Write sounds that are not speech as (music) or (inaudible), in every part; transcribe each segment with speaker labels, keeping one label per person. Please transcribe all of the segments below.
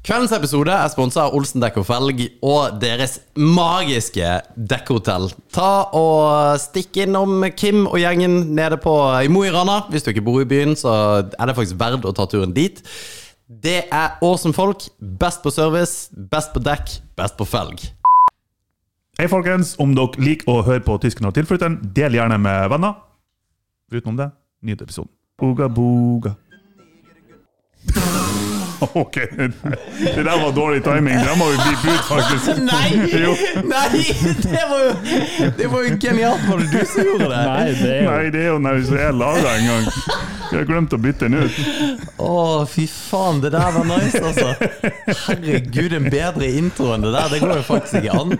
Speaker 1: Kveldens episode er sponsa av Olsen Dekk og Felg og deres magiske dekkhotell. Ta og Stikk innom Kim og gjengen nede på i Mo i Rana. Hvis du ikke bor i byen, så er det faktisk verdt å ta turen dit. Det er awesome folk. Best på service, best på dekk, best på felg.
Speaker 2: Hei, folkens. Om dere liker å høre på Tysken og tilflytteren, del gjerne med venner. Utenom det, nyt episoden. Uga boga. (laughs) OK. Det der var dårlig timing. Det må vi beepe ut, faktisk. Jo.
Speaker 1: (laughs) Nei! Det var jo, det var jo genialt. Var det du som gjorde det?
Speaker 3: Nei, det er jo
Speaker 2: Nei, det er jo når jeg laga en gang. Jeg har glemt å bytte den ut.
Speaker 1: Å, fy faen, det der var nice, altså. Herregud, en bedre intro enn det der. Det går jo faktisk ikke an.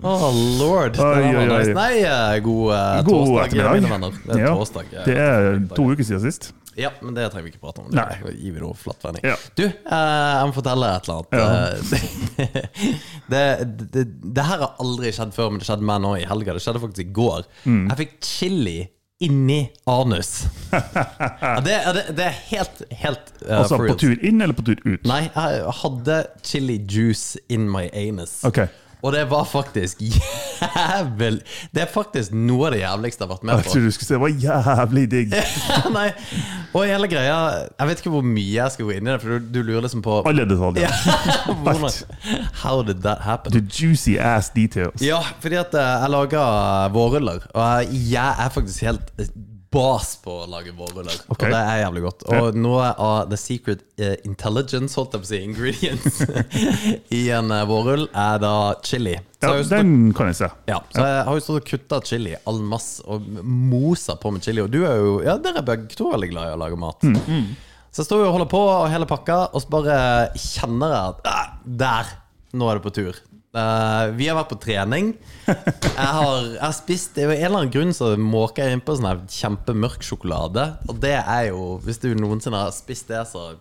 Speaker 1: Å, lord. Det der
Speaker 2: Oi, oi,
Speaker 1: var
Speaker 2: oi.
Speaker 1: nice. Nei, eh, god, eh,
Speaker 2: God
Speaker 1: torsdag,
Speaker 2: ettermiddag.
Speaker 1: mine venner. Det er
Speaker 2: Ja,
Speaker 1: torsdag. eh,
Speaker 2: Det er
Speaker 1: torsdag.
Speaker 2: to uker siden sist.
Speaker 1: Ja, men det trenger vi ikke prate om.
Speaker 2: Nei.
Speaker 1: Det gir vi noe flatt vending.
Speaker 2: Ja.
Speaker 1: Du, eh, jeg må fortelle et eller annet. (laughs) det, det, det her har aldri skjedd før, men det skjedde meg nå i helga. Det skjedde faktisk i går.
Speaker 2: Mm.
Speaker 1: Jeg fikk chili inni anus.
Speaker 2: (laughs)
Speaker 1: ja, det, ja, det, det er helt, helt eh,
Speaker 2: Altså
Speaker 1: for
Speaker 2: på
Speaker 1: reals.
Speaker 2: tur inn eller på tur ut?
Speaker 1: Nei, jeg hadde chili juice in my anus.
Speaker 2: Ok.
Speaker 1: Og det var faktisk jævel Det er faktisk noe av det jævligste jeg har vært med
Speaker 2: Jeg
Speaker 1: på. (laughs)
Speaker 2: trodde du skulle si det var jævlig digg.
Speaker 1: Nei, Og hele greia Jeg vet ikke hvor mye jeg skal gå inn i det, for du, du lurer liksom på
Speaker 2: Alle detaljer.
Speaker 1: (laughs) hvordan, How did that happen?
Speaker 2: The juicy ass details.
Speaker 1: Ja, fordi at eh, jeg lager vårruller, og jeg, jeg er faktisk helt eh, bas på å lage vårruller.
Speaker 2: Ok.
Speaker 1: Og det er jævlig godt. Og noe av the secret eh, intelligence, holdt jeg på å si, ingredients, (laughs) i en eh, vårrull er da chili. Så jeg
Speaker 2: Ja,
Speaker 1: har jo stått-
Speaker 2: den kan jeg se.
Speaker 1: ja, så jeg har jo stått og kutta chili all masse og mosa på med chili. Og du er jo Ja, dere er begge to veldig glad i å lage mat.
Speaker 2: Mm.
Speaker 1: Så jeg står jo og holder på og hele pakka, og så bare kjenner jeg at «Ah, Der! Nå er det på tur. Eh, vi har vært på
Speaker 2: (laughs)
Speaker 1: trening. Jeg har, jeg har spist Av en eller annen grunn så måker jeg innpå sånn her kjempemørk sjokolade. Og det er jo Hvis du noensinne har spist det, så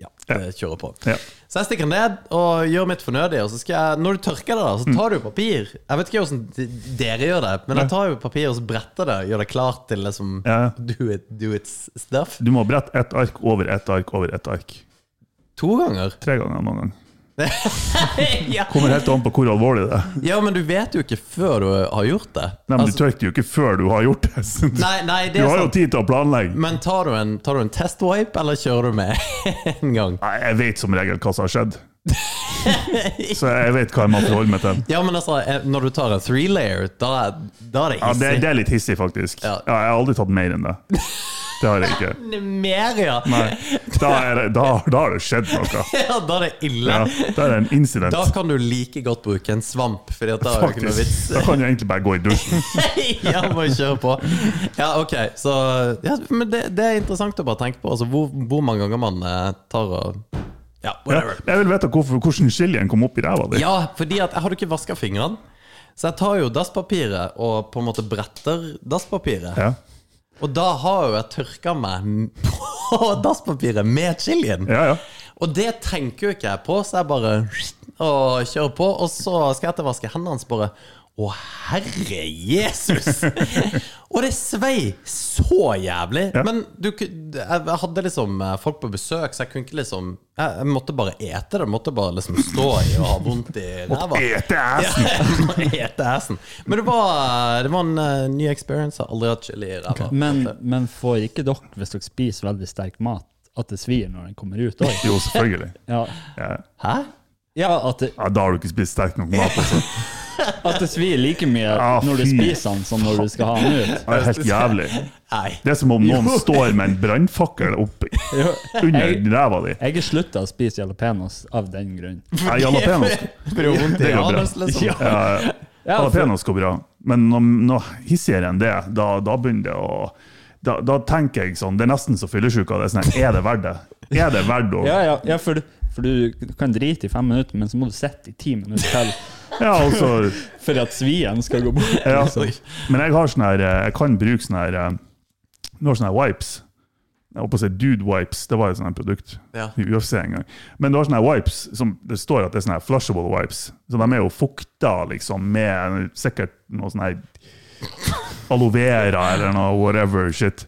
Speaker 1: ja, det kjører på.
Speaker 2: Ja.
Speaker 1: Så jeg stikker ned og gjør mitt fornødige. Og så skal jeg, når du tørker det, da, så
Speaker 2: Mm.
Speaker 1: tar du jo papir. Jeg vet ikke hvordan d- dere gjør det, men jeg tar jo papir og så bretter det. Gjør det klart til liksom
Speaker 2: Ja.
Speaker 1: do it, do it stuff.
Speaker 2: Du må brette ett ark over ett ark over ett ark.
Speaker 1: To ganger.
Speaker 2: Tre ganger noen gang.
Speaker 1: (laughs) ja.
Speaker 2: Kommer helt an på hvor alvorlig det er.
Speaker 1: ja, men du vet jo ikke før du har gjort det.
Speaker 2: Nei, men
Speaker 1: Altså,
Speaker 2: Du tørker jo ikke før du har gjort det. så Du,
Speaker 1: nei, nei,
Speaker 2: du
Speaker 1: det er
Speaker 2: har jo
Speaker 1: sant.
Speaker 2: tid til å planlegge.
Speaker 1: Men tar du en, tar du en testwipe, eller kjører du med (laughs) en gang?
Speaker 2: Nei, Jeg vet som regel hva som
Speaker 1: (laughs)
Speaker 2: har skjedd. Så jeg vet hva jeg må forholde meg til.
Speaker 1: Ja, men altså, eh, når du tar en three layer, da, er- da er det
Speaker 2: Ja, det,
Speaker 1: hissig.
Speaker 2: det er litt hissig, faktisk. Ja,
Speaker 1: Ja.
Speaker 2: Jeg har aldri tatt mer enn det. Det har jeg ikke.
Speaker 1: Mer, ja.
Speaker 2: Nei, Da, er, det- da, da har det skjedd noe.
Speaker 1: (laughs) ja! Da er det ille.
Speaker 2: Ja, da er det en incident.
Speaker 1: Da kan du like godt bruke en svamp, Fordi at da er det ikke noe vits. (laughs)
Speaker 2: Faktisk. Da kan du egentlig bare gå i dusjen.
Speaker 1: ja, bare kjør på. Ja, ok. Så ja, Men det, det er interessant å bare tenke på. Altså, hvor, hvor mange ganger man eh, tar og Ja,
Speaker 2: Ja,
Speaker 1: whatever.
Speaker 2: jeg vil vite hvorfor, hvordan chilien kom opp i ræva di.
Speaker 1: Ja, fordi at jeg hadde ikke vaska fingrene. Så jeg tar jo dasspapiret og på en måte bretter dasspapiret.
Speaker 2: Ja.
Speaker 1: Og da har jo jeg tørka meg (laughs) på dasspapiret med chilien.
Speaker 2: Ja, ja.
Speaker 1: Og det tenker jo ikke jeg på, så jeg bare og kjører på. Og så skal jeg ettervaske hendene, så bare Å, herre Jesus! (laughs) og det svei så jævlig. Men du, ku- jeg hadde liksom eh, folk på besøk, så jeg kunne ikke liksom Jeg, jeg måtte bare ete det. Jeg Måtte bare liksom stå i og ha vondt i
Speaker 2: (laughs)
Speaker 1: ræva. (laughs)
Speaker 2: Ete assen!
Speaker 1: Bare ete assen. Men det var, det var en eh, ny experience. Jeg har aldri hatt chili i ræva.
Speaker 3: Men, men får ikke dere, hvis dere spiser veldig sterk mat, at det svir når den kommer ut òg?
Speaker 2: Jo, selvfølgelig.
Speaker 3: Ja.
Speaker 2: (laughs) Ja.
Speaker 1: Hæ?
Speaker 3: ja, at det,
Speaker 2: Ja, da har du ikke spist sterk nok mat. Altså.
Speaker 3: at det svir like mye
Speaker 2: Ah,
Speaker 3: når du
Speaker 2: fy.
Speaker 3: spiser den, som når du skal ha den ut.
Speaker 2: (laughs) Det er helt jævlig.
Speaker 1: Nei. (laughs)
Speaker 2: Det er som om noen står med en brannfakkel opp
Speaker 3: Jo,
Speaker 2: under
Speaker 3: Jeg-
Speaker 2: ræva di.
Speaker 3: Jeg har slutta å spise jalapeños av den grunn.
Speaker 2: Ja, Jalapeños
Speaker 1: Det gjør vondt i
Speaker 2: Det går bra.
Speaker 1: anus, liksom.
Speaker 2: ja, ja. Jalapenos går bra, men noe, noe hissigere enn det, da, da begynner det å da, da tenker jeg sånn, Det er nesten så fyllesyke av det. er Sånn, her, er det verdt det? Er det verdt å
Speaker 3: Ja, ja, ja for, du, for du kan drite i fem minutter, men så må du sitte i ti minutter til
Speaker 2: Ja, altså,
Speaker 3: for at svien skal gå bort.
Speaker 2: ja.
Speaker 1: (laughs)
Speaker 3: liksom.
Speaker 2: Men jeg har sånn her, eh, jeg kan bruke sånn her eh, Du har sånne her wipes. Jeg holdt på å si Dude Wipes, det var et sånt her produkt
Speaker 1: Ja.
Speaker 2: i UFC en gang. Men du har sånne her wipes som det står at det er sånne her flushable wipes. Så de er jo fukta liksom med sikkert noe sånn her aloe vera eller noe whatever shit.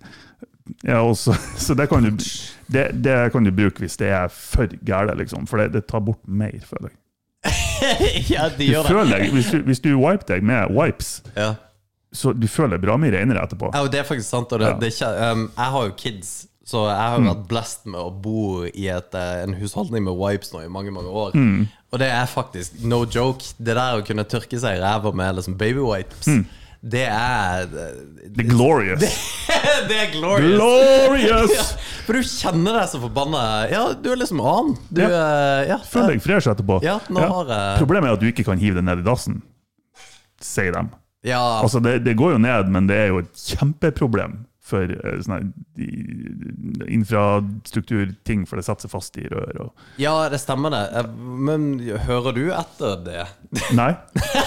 Speaker 2: Ja, og (laughs) så- så det kan du Det, det kan du bruke hvis det er for gæle, liksom. For det, det tar bort mer, føler jeg.
Speaker 1: ja, de
Speaker 2: Du
Speaker 1: gjør det.
Speaker 2: føler deg, hvis, du, hvis du wiper deg med wipes,
Speaker 1: Ja.
Speaker 2: så du føler deg bra mye renere etterpå.
Speaker 1: Ja, og det er faktisk sant. Og det, det er ikke, um, jeg har jo kids, så jeg
Speaker 2: Mm.
Speaker 1: har jo vært blessed med å bo i et, eh, en husholdning med wipes nå i mange mange år.
Speaker 2: Mm.
Speaker 1: Og det er faktisk no joke. Det der å kunne tørke seg i ræva med liksom babywipes,
Speaker 2: Mm.
Speaker 1: det er eh,
Speaker 2: The glorious.
Speaker 1: (laughs) Det er glorious! (laughs) Ja,
Speaker 2: Glorious!
Speaker 1: for du kjenner deg så forbanna Ja, du er liksom annen. Du
Speaker 2: Ja.
Speaker 1: eh, ja.
Speaker 2: Føler deg fresh etterpå.
Speaker 1: Ja, nå har jeg-
Speaker 2: Problemet er at du ikke kan hive det ned i dassen, sier de.
Speaker 1: ja.
Speaker 2: Altså, det, det går jo ned, men det er jo et kjempeproblem for eh, sånne her, de- infrastrukturting, for det setter seg fast i rør og
Speaker 1: ja, det stemmer det. Eh, Men hører du etter det?
Speaker 2: Nei,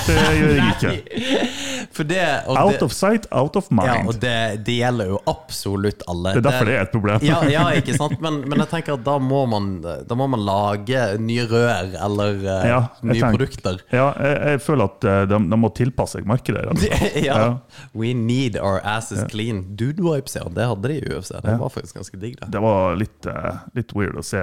Speaker 2: det gjør jeg
Speaker 1: (laughs)
Speaker 2: ikke.
Speaker 1: For det, og det
Speaker 2: Out of sight, out of
Speaker 1: Ja, og
Speaker 2: mind.
Speaker 1: det, det gjelder jo absolutt alle.
Speaker 2: Det er derfor det er et problem.
Speaker 1: ja, ja, ikke sant? Men, men jeg tenker at da må man, da må man lage nye rør eller eh,
Speaker 2: (laughs) Ja, jeg
Speaker 1: nye
Speaker 2: tenker-
Speaker 1: produkter. (laughs)
Speaker 2: Ja, jeg, jeg føler at eh, de, de må tilpasse seg markedet. rett og slett.
Speaker 1: ja.
Speaker 2: Ja.
Speaker 1: We need our asses clean. Dude wipes, ja. Det hadde de i UFC. Det var faktisk ganske digg, det.
Speaker 2: Det var litt, eh, litt weird å se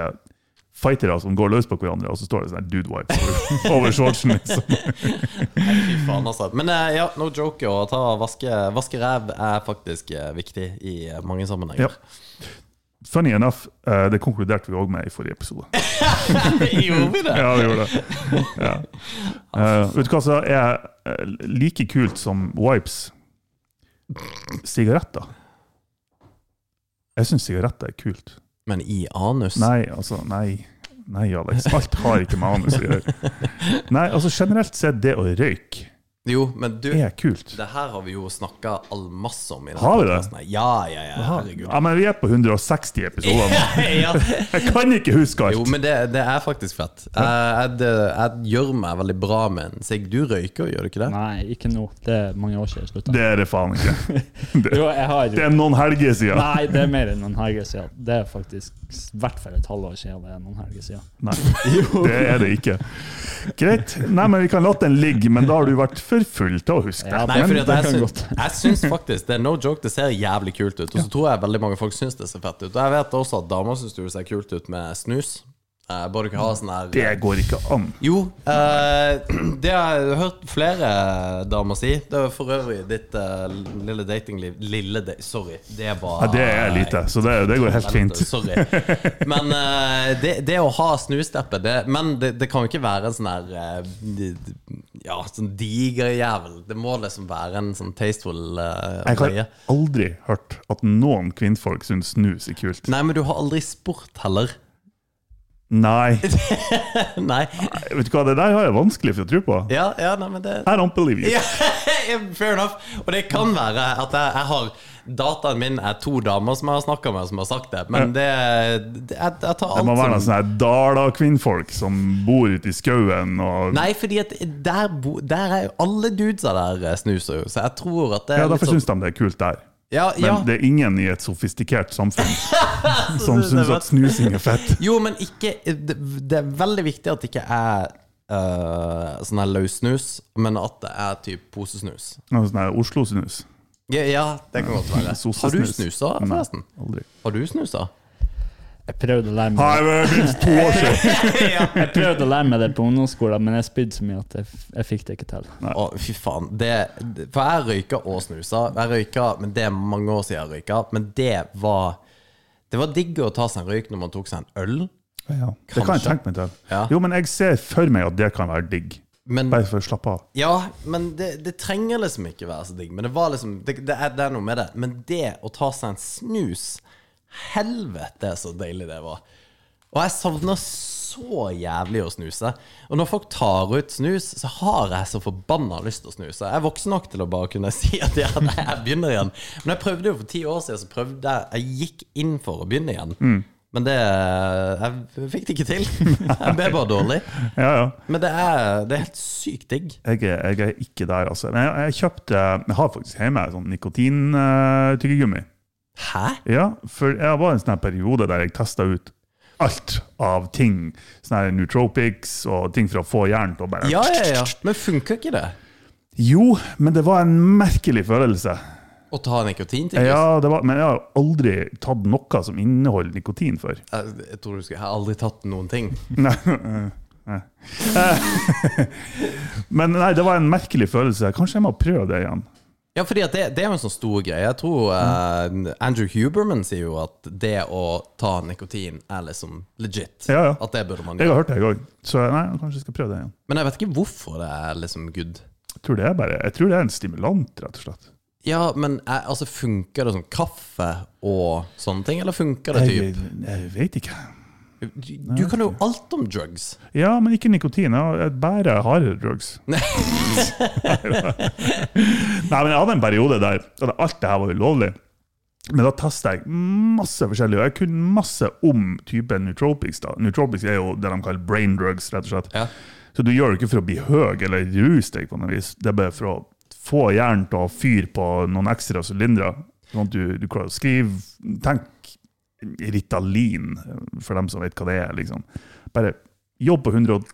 Speaker 2: fightere som går løs på hverandre, og så står det sånn her dude wipe over- (laughs) over shortsen. Liksom.
Speaker 1: Fy faen, altså. Men eh, ja, no joke. Å ta vaske, vaske ræv er faktisk eh, viktig i eh, mange sammenhenger.
Speaker 2: Funny enough, eh, det konkluderte vi òg med i forrige episode.
Speaker 1: (laughs) Gjorde vi det?
Speaker 2: Ja, vi gjorde det. Ja. Eh, vet du hva som er eh, like kult som wipes? Sigaretter. Jeg syns sigaretter er kult.
Speaker 1: Men i anus?
Speaker 2: Nei, altså, nei. Nei, Alex. Alt har ikke med anus å gjøre. Nei, altså generelt sett, det å røyke
Speaker 1: Jo, men du
Speaker 2: er kult.
Speaker 1: Det her har vi jo snakka allmasse om. I denne
Speaker 2: Har vi det?
Speaker 1: podcasten her. Ja, ja, ja, herregud.
Speaker 2: Ja, men vi er på 160 episoder nå.
Speaker 1: (laughs) ja.
Speaker 2: Jeg kan ikke huske
Speaker 1: Jo,
Speaker 2: alt.
Speaker 1: men det, det er faktisk fett. Jeg, jeg, det, jeg gjør meg veldig bra med en sigg. Du røyker, gjør du ikke det?
Speaker 3: Nei, ikke nå. Det er mange år siden jeg slutta.
Speaker 2: Det er det faen ikke.
Speaker 3: Jo, jeg har
Speaker 2: Det er noen helger siden.
Speaker 3: Nei, det er mer enn noen helger siden. Det er faktisk s- i hvert fall et halvår siden det er noen helger siden.
Speaker 2: Nei,
Speaker 1: (laughs)
Speaker 2: det er det ikke. Greit. Nei, men vi kan la den ligge, men da har du vært for full til å huske
Speaker 3: Ja,
Speaker 2: det.
Speaker 1: Nei,
Speaker 3: men
Speaker 1: fordi at
Speaker 3: det
Speaker 1: jeg,
Speaker 3: kan
Speaker 1: syns,
Speaker 3: godt.
Speaker 1: jeg syns faktisk Det er no joke, det ser jævlig kult ut. Og så tror jeg veldig mange folk syns det ser fett ut. Og jeg vet også at damer syns det ser kult ut med snus. Eh, Bare du ikke har sånn her
Speaker 2: Det går ikke an.
Speaker 1: Jo, eh, det har jeg hørt flere damer si. Det er for øvrig ditt eh, lille datingliv Lille da Sorry, det var
Speaker 2: Ja, det er lite, så det, det går helt fint.
Speaker 1: Sorry. Men eh, det, det å ha snusteppe det, Men det, det kan jo ikke være en sånn her eh, d- d- Ja, sånn diger jævel. Det må liksom være en sånn tasteful eh,
Speaker 2: Jeg
Speaker 1: greie.
Speaker 2: har aldri hørt at noen kvinnfolk syns snus er kult.
Speaker 1: Nei, men du har aldri spurt heller. (laughs)
Speaker 2: Nei.
Speaker 1: Nei.
Speaker 2: Vet du hva, det der har jeg vanskelig for å tro på.
Speaker 1: Ja, ja, nei, men det (laughs)
Speaker 2: I don't believe you.
Speaker 1: Ja, Fair enough. Og det kan være at jeg, jeg har Dataen min er to damer som jeg har snakka med, som har sagt det. Men det, det jeg, jeg tar
Speaker 2: Det må
Speaker 1: alt
Speaker 2: være noen
Speaker 1: som
Speaker 2: sånne her Dala-kvinnfolk som bor ute i skauen og
Speaker 1: Nei, fordi at der, bo, der er jo alle dudesa der eh, snuser jo, så jeg tror at det er
Speaker 2: Ja,
Speaker 1: litt
Speaker 2: derfor
Speaker 1: sånn
Speaker 2: syns de det er kult der.
Speaker 1: ja,
Speaker 2: Men
Speaker 1: ja.
Speaker 2: det er ingen i et sofistikert
Speaker 1: (laughs)
Speaker 2: samfunn som
Speaker 1: synes det er
Speaker 2: syns at snusing er fett.
Speaker 1: Jo, men ikke Det, det er veldig viktig at det ikke er eh, sånn her løssnus, men at det er typ posesnus.
Speaker 2: Noe Sånn her Oslo-snus.
Speaker 1: Ja, ja, det kan godt
Speaker 2: (laughs)
Speaker 1: være.
Speaker 2: Sossesnus.
Speaker 1: Har du snusa,
Speaker 2: Nei,
Speaker 1: forresten?
Speaker 2: Aldri.
Speaker 1: Har du snusa?
Speaker 3: Jeg prøvde å lære
Speaker 2: Nei,
Speaker 3: meg,
Speaker 2: det er minst to år siden!
Speaker 3: jeg prøvde å lære meg det på ungdomsskolen, men jeg spydde så mye at jeg, f- jeg fikk det ikke til.
Speaker 1: Å, fy faen. Det, det- for jeg røyka og snusa. Jeg røyka, men Det er mange år siden jeg røyka. Men det var Det var digg å ta seg en røyk når man tok seg en øl.
Speaker 2: Ja, det kan jeg tenke meg til.
Speaker 1: Ja.
Speaker 2: Jo, men jeg ser for meg at det kan være digg.
Speaker 1: Men
Speaker 2: Bare for å slappe av.
Speaker 1: Ja, men det, det trenger liksom ikke være så digg. Men det var liksom det, det, er, det er noe med det. Men det å ta seg en snus Helvete, så deilig det var. Og jeg savner så jævlig å snuse. Og når folk tar ut snus, så har jeg så forbanna lyst til å snuse. Jeg er voksen nok til å bare kunne (laughs) si at ja, nei, jeg begynner igjen. Men jeg prøvde jo for ti år siden, så prøvde jeg Jeg gikk inn for å begynne igjen. Men det Jeg fikk det ikke til. (laughs) Jeg ble bare dårlig.
Speaker 2: Ja, ja.
Speaker 1: Men det er, det er helt sykt digg.
Speaker 2: Jeg er, jeg er ikke der, altså. Men jeg, jeg kjøpte Jeg har faktisk hjemme sånn nikotintyggegummi.
Speaker 1: Hæ?
Speaker 2: Ja, for jeg var i en sånn her periode der jeg testa ut alt av ting. Sånne her nootropics og ting for å få hjernen til å bare
Speaker 1: Ja, ja, ja. Men funka ikke det?
Speaker 2: Jo, men det var en merkelig følelse.
Speaker 1: Å ta nikotin til
Speaker 2: Ja, det var, men jeg har aldri tatt noe som inneholder nikotin
Speaker 1: (laughs)
Speaker 2: før.
Speaker 1: Jeg, jeg tror du skulle Jeg har aldri tatt noen ting.
Speaker 2: Nei. eh, nei. Eh, Men nei, det var en merkelig følelse. Kanskje jeg må prøve det igjen.
Speaker 1: Ja, fordi at det, det er jo en sånn stor greie. Jeg tror eh, Andrew Huberman sier jo at det å ta nikotin er liksom legit.
Speaker 2: Ja, ja.
Speaker 1: At det burde man
Speaker 2: Jeg
Speaker 1: gjøre.
Speaker 2: har hørt det, jeg òg. Så nei, kanskje jeg skal prøve det igjen.
Speaker 1: Men jeg vet ikke hvorfor det er liksom good.
Speaker 2: Jeg tror det er, bare, jeg tror det er en stimulant, rett og slett.
Speaker 1: Ja, men eh, altså, funker det som kaffe og sånne ting, eller funker det
Speaker 2: Jeg,
Speaker 1: typ
Speaker 2: jeg vet ikke.
Speaker 1: Du, du kan jo alt om drugs.
Speaker 2: Ja, men ikke nikotin. Jeg jeg bærer hardere drugs. Nei, men jeg hadde en periode der da alt det her var ulovlig. Men da testa jeg masse forskjellig, og jeg kunne masse om typen nootropics. da. Nootropics er jo det de kaller brain drugs, rett og slett.
Speaker 1: Ja.
Speaker 2: Så du gjør det ikke for å bli høy eller ruse deg, på noe vis. Det er bare for å få hjernen til å fyre på noen ekstra sylindere. Sånn at du, du klarer å skrive Tenk Ritalin, for dem som vet hva det er. liksom. Bare jobb på 120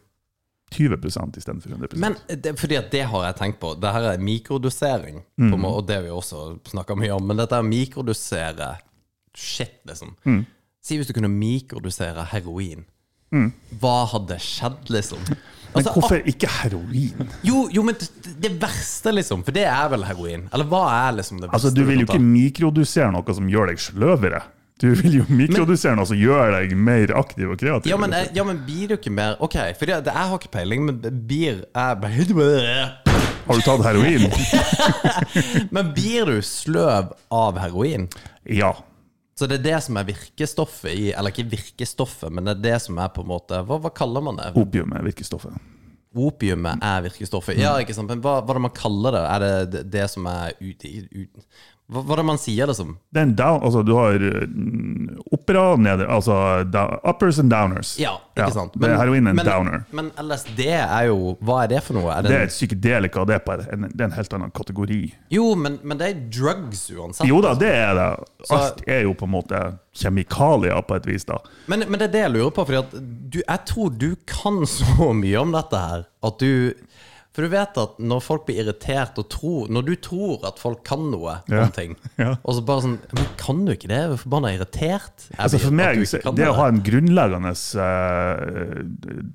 Speaker 2: istedenfor 100
Speaker 1: Men det, fordi at det har jeg tenkt på. Det her er mikrodosering,
Speaker 2: Mm.
Speaker 1: på en må- og det har vi også snakka mye om. Men dette er mikrodosere shit, liksom.
Speaker 2: Mm.
Speaker 1: Si hvis du kunne mikrodosere heroin. Hva hadde skjedd, liksom?
Speaker 2: Mm. Men
Speaker 1: Altså,
Speaker 2: hvorfor ikke heroin?
Speaker 1: ah, jo, jo, men det- det verste, liksom. For det er vel heroin? Eller hva er liksom det verste?
Speaker 2: Altså, Du vil jo
Speaker 1: kan
Speaker 2: ikke mikrodosere noe som gjør deg sløvere. Du vil jo mikrodosere noe som gjør deg mer aktiv og kreativ.
Speaker 1: Ja men, eh, ja, men blir du ikke mer Ok, for det, det, jeg har ikke peiling, men blir jeg
Speaker 2: Har du tatt
Speaker 1: (laughs)
Speaker 2: heroin? (laughs)
Speaker 1: Men blir du sløv av heroin?
Speaker 2: ja.
Speaker 1: Så det er det som er virkestoffet i Eller ikke virkestoffet, men det er det som er på en måte Hva, hva kaller man det?
Speaker 2: Opium er virkestoffet.
Speaker 1: Opiumet er virkestoffet. Ja, ikke sant? Men hva, hva er det man kaller det? Er det det, det som er ut, ut, hva, hva er det man sier, liksom?
Speaker 2: Det er en down, altså Du har mm, opera og neder, altså da- uppers and downers.
Speaker 1: Ja, ikke sant?
Speaker 2: Men, heroin er en
Speaker 1: men,
Speaker 2: downer.
Speaker 1: Men LSD er jo Hva er det for noe? Er det,
Speaker 2: Det er et psykedelika, det er, på en, det er en helt annen kategori.
Speaker 1: jo, men, men det er drugs uansett.
Speaker 2: Jo da, det er det. Alt er jo på en måte kjemikalier, på et vis. da.
Speaker 1: Men, men det er det jeg lurer på, fordi at du, jeg tror du kan (laughs) så mye om dette her, at du For du vet at når folk blir irritert og tror Når du tror at folk kan noe
Speaker 2: Ja.
Speaker 1: om ting,
Speaker 2: Ja.
Speaker 1: og så bare sånn Men kan du ikke det? Jeg er forbanna irritert. Jeg
Speaker 2: Altså
Speaker 1: blir-
Speaker 2: For
Speaker 1: at
Speaker 2: meg,
Speaker 1: du
Speaker 2: så-
Speaker 1: ikke kan
Speaker 2: det å ha en grunnleggende eh,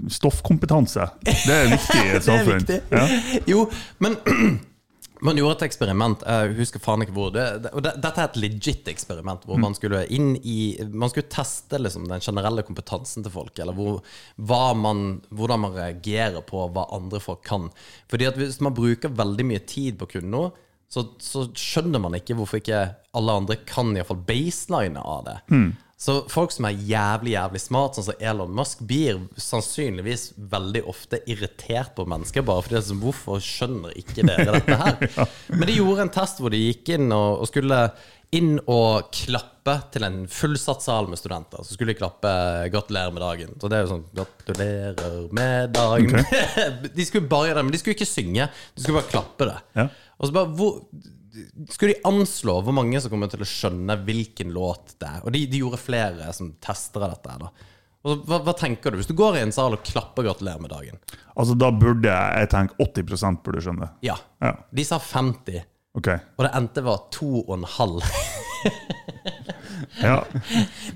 Speaker 2: stoffkompetanse, det er
Speaker 1: (laughs)
Speaker 2: viktig i et
Speaker 1: Det er
Speaker 2: samfunn.
Speaker 1: viktig.
Speaker 2: Ja.
Speaker 1: (laughs) Jo, men (clears throat) man gjorde et eksperiment, jeg husker faen ikke hvor det, det, og det Dette er et legit eksperiment,
Speaker 2: Mm.
Speaker 1: hvor man skulle inn i Man skulle teste liksom, den generelle kompetansen til folk, eller hvor, hva man, hvordan man reagerer på hva andre folk kan. Fordi at hvis man bruker veldig mye tid på å kunne noe, så, så skjønner man ikke hvorfor ikke alle andre kan iallfall baseline av det. Så folk som er jævlig jævlig smart, sånn som Elon Musk, blir sannsynligvis veldig ofte irritert på mennesker bare fordi det er sånn, Hvorfor skjønner ikke dere dette her? Men de gjorde en test hvor de gikk inn og, og skulle inn og klappe til en fullsatt sal med studenter. Så skulle de klappe 'Gratulerer med dagen'. Så det er jo sånn 'Gratulerer med dagen'. (laughs) de skulle bare gjøre det, men de skulle ikke synge. De skulle bare klappe det.
Speaker 2: Ja.
Speaker 1: Og så bare hvor, Skulle de anslå hvor mange som kommer til å skjønne hvilken låt det er? Og de, de gjorde flere som tester av dette. her da og så, hva, hva tenker du hvis du går i en sal og klapper 'Gratulerer med dagen'?
Speaker 2: Altså Da burde jeg, jeg tenke 80 burde skjønne det.
Speaker 1: Ja.
Speaker 2: Ja.
Speaker 1: De sa 50,
Speaker 2: Ok.
Speaker 1: og det endte var 2,5.
Speaker 2: Ja.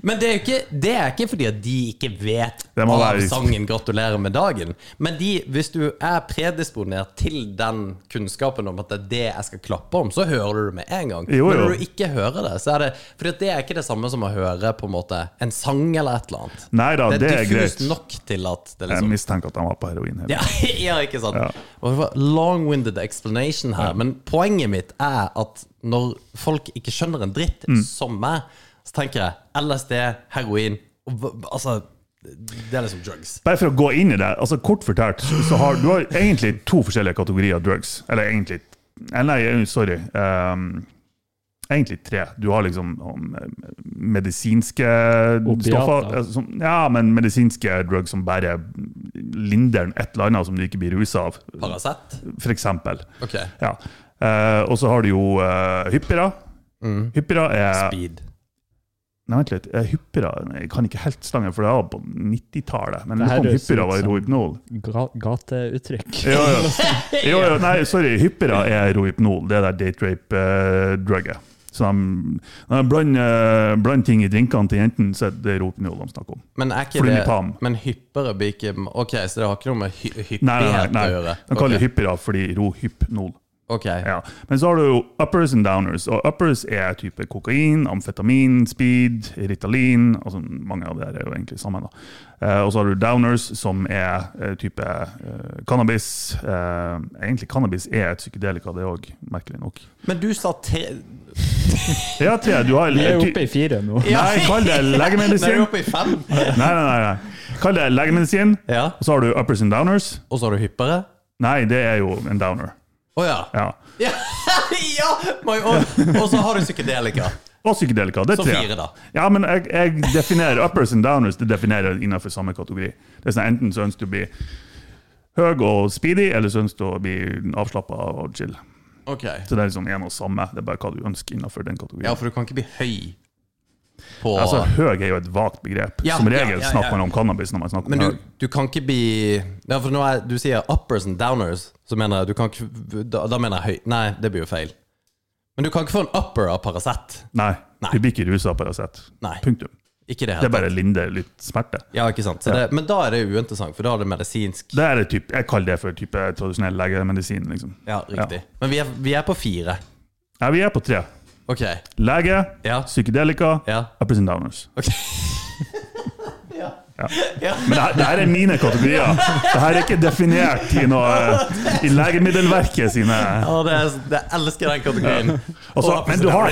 Speaker 1: Men det er, jo ikke, det er ikke fordi at de ikke vet
Speaker 2: Det må
Speaker 1: av
Speaker 2: være-
Speaker 1: sangen 'Gratulerer med dagen'. Men de, hvis du er predisponert til den kunnskapen om at det er det jeg skal klappe om, så hører du det med en gang.
Speaker 2: Jo,
Speaker 1: Men
Speaker 2: jo.
Speaker 1: når du ikke hører det, så er det Fordi at det er ikke det samme som å høre på en måte en sang eller et eller annet.
Speaker 2: Nei da, det er
Speaker 1: diffust
Speaker 2: greit.
Speaker 1: nok til at det
Speaker 2: Jeg
Speaker 1: liksom
Speaker 2: mistenker at han var på heroin. hele
Speaker 1: ja, (laughs) ja, ikke sant? Og det var Long-winded explanation her, men poenget mitt er at når folk ikke skjønner en dritt,
Speaker 2: Mm.
Speaker 1: som meg, så tenker jeg LSD, heroin og, hva- Altså, det er liksom drugs.
Speaker 2: Bare for å gå inn i det, altså kort fortalt, så har du har egentlig to forskjellige kategorier av drugs. Eller egentlig eh, Nei, sorry. ehm, egentlig tre. Du har liksom om, eh, medisinske
Speaker 3: Opiater.
Speaker 2: stoffer eh, som, Ja, men medisinske drugs som bare linder et eller annet som du ikke blir rusa av,
Speaker 1: Paracet.
Speaker 2: f.eks.
Speaker 1: Ok.
Speaker 2: Ja. Eh, og så har du jo uh, hyppere. Hyppere eh, er
Speaker 1: Speed.
Speaker 2: Nei, vent litt. Eh, Hyppera Jeg kan ikke helt slangen, for det var på 90-tallet. Men
Speaker 3: Det
Speaker 2: det
Speaker 3: her
Speaker 2: kom
Speaker 3: høres
Speaker 2: hyppera
Speaker 3: ut
Speaker 2: var
Speaker 3: som-
Speaker 2: rohypnol.
Speaker 3: Ga gateuttrykk.
Speaker 2: Jo, jo. jo, jo. Nei, sorry. Hyppera er rohypnol. Det er der date rape-drugget. så de, de blander eh, blander ting i drinkene til jentene, så er det rohypnol de snakker om.
Speaker 1: Men er ikke det
Speaker 2: Flunipam.
Speaker 1: Men hyppere blir ikke Ok, så det har ikke noe med hy hyppighet
Speaker 2: Nei, nei, nei,
Speaker 1: å
Speaker 2: nei.
Speaker 1: gjøre?
Speaker 2: De kaller
Speaker 1: Ok.
Speaker 2: det hyppera fordi rohypnol.
Speaker 1: Ok.
Speaker 2: Ja. Men så har du jo uppers and downers. Og uppers er type kokain, amfetamin, speed, Ritalin altså Mange av de her er jo egentlig sammen. da. Eh, og så har du downers, som er eh, type eh, cannabis. Eh, egentlig cannabis er et psykedelika, det òg, merkelig nok.
Speaker 1: Men du sa tre
Speaker 2: Ja, tre, du har
Speaker 3: Vi er jo oppe i fire nå.
Speaker 2: Nei, kall
Speaker 3: (laughs)
Speaker 1: (laughs) Nå
Speaker 2: det
Speaker 1: er du
Speaker 2: legemedisin.
Speaker 1: oppe i fem.
Speaker 2: Nei, nei, nei, nei. Kall det legemedisin.
Speaker 1: Ja.
Speaker 2: Og så har du uppers and downers.
Speaker 1: Og så har du hyppere?
Speaker 2: Nei, det er jo en downer.
Speaker 1: Å ja.
Speaker 2: Ja.
Speaker 1: Ja! (laughs) ja my, og, og så har du psykedelika.
Speaker 2: Og psykedelika. Det er
Speaker 1: Så
Speaker 2: tre.
Speaker 1: fire, da.
Speaker 2: Ja, men jeg, jeg definerer uppers and downers det definerer jeg innenfor samme kategori. Det er sånn, Enten så ønsker du å bli høy og speedy, eller så ønsker du å bli avslappa og chill.
Speaker 1: Ok.
Speaker 2: Så det er liksom en og samme. Det er bare hva du ønsker innenfor den kategorien.
Speaker 1: Ja, for du kan ikke bli høy på
Speaker 2: Altså, Høy er jo et vagt begrep.
Speaker 1: Ja,
Speaker 2: Som
Speaker 1: ja,
Speaker 2: regel
Speaker 1: ja, ja.
Speaker 2: snakker man om cannabis når man snakker
Speaker 1: Men
Speaker 2: om
Speaker 1: du,
Speaker 2: høy.
Speaker 1: du kan ikke bli Ja, for nå er, du sier uppers and downers, så mener jeg du kan ikke Da, da mener jeg høy. Nei, det blir jo feil. Men du kan ikke få en upper av Paracet.
Speaker 2: Nei,
Speaker 1: Nei.
Speaker 2: du blir ikke rusa av Paracet.
Speaker 1: Nei.
Speaker 2: Punktum.
Speaker 1: Ikke det
Speaker 2: Det
Speaker 1: heller.
Speaker 2: er bare linder litt smerte.
Speaker 1: Ja, ikke sant. Så det, men da er det uinteressant, for da er det medisinsk.
Speaker 2: Det er et typ, jeg kaller det for type tradisjonell legemedisin. liksom.
Speaker 1: Ja, riktig. Men vi er, vi er på fire.
Speaker 2: Ja, vi er på tre.
Speaker 1: Ok.
Speaker 2: Lege,
Speaker 1: Ja.
Speaker 2: psykedelika,
Speaker 1: Ja.
Speaker 2: uppers and downers.
Speaker 1: Ok. (laughs) ja.
Speaker 2: Men det her, det her er mine kategorier. Det her er ikke definert i, noe, i legemiddelverket sine
Speaker 1: Å, det er, det jeg elsker den kategorien.
Speaker 2: Altså,
Speaker 1: Og-
Speaker 2: Men du har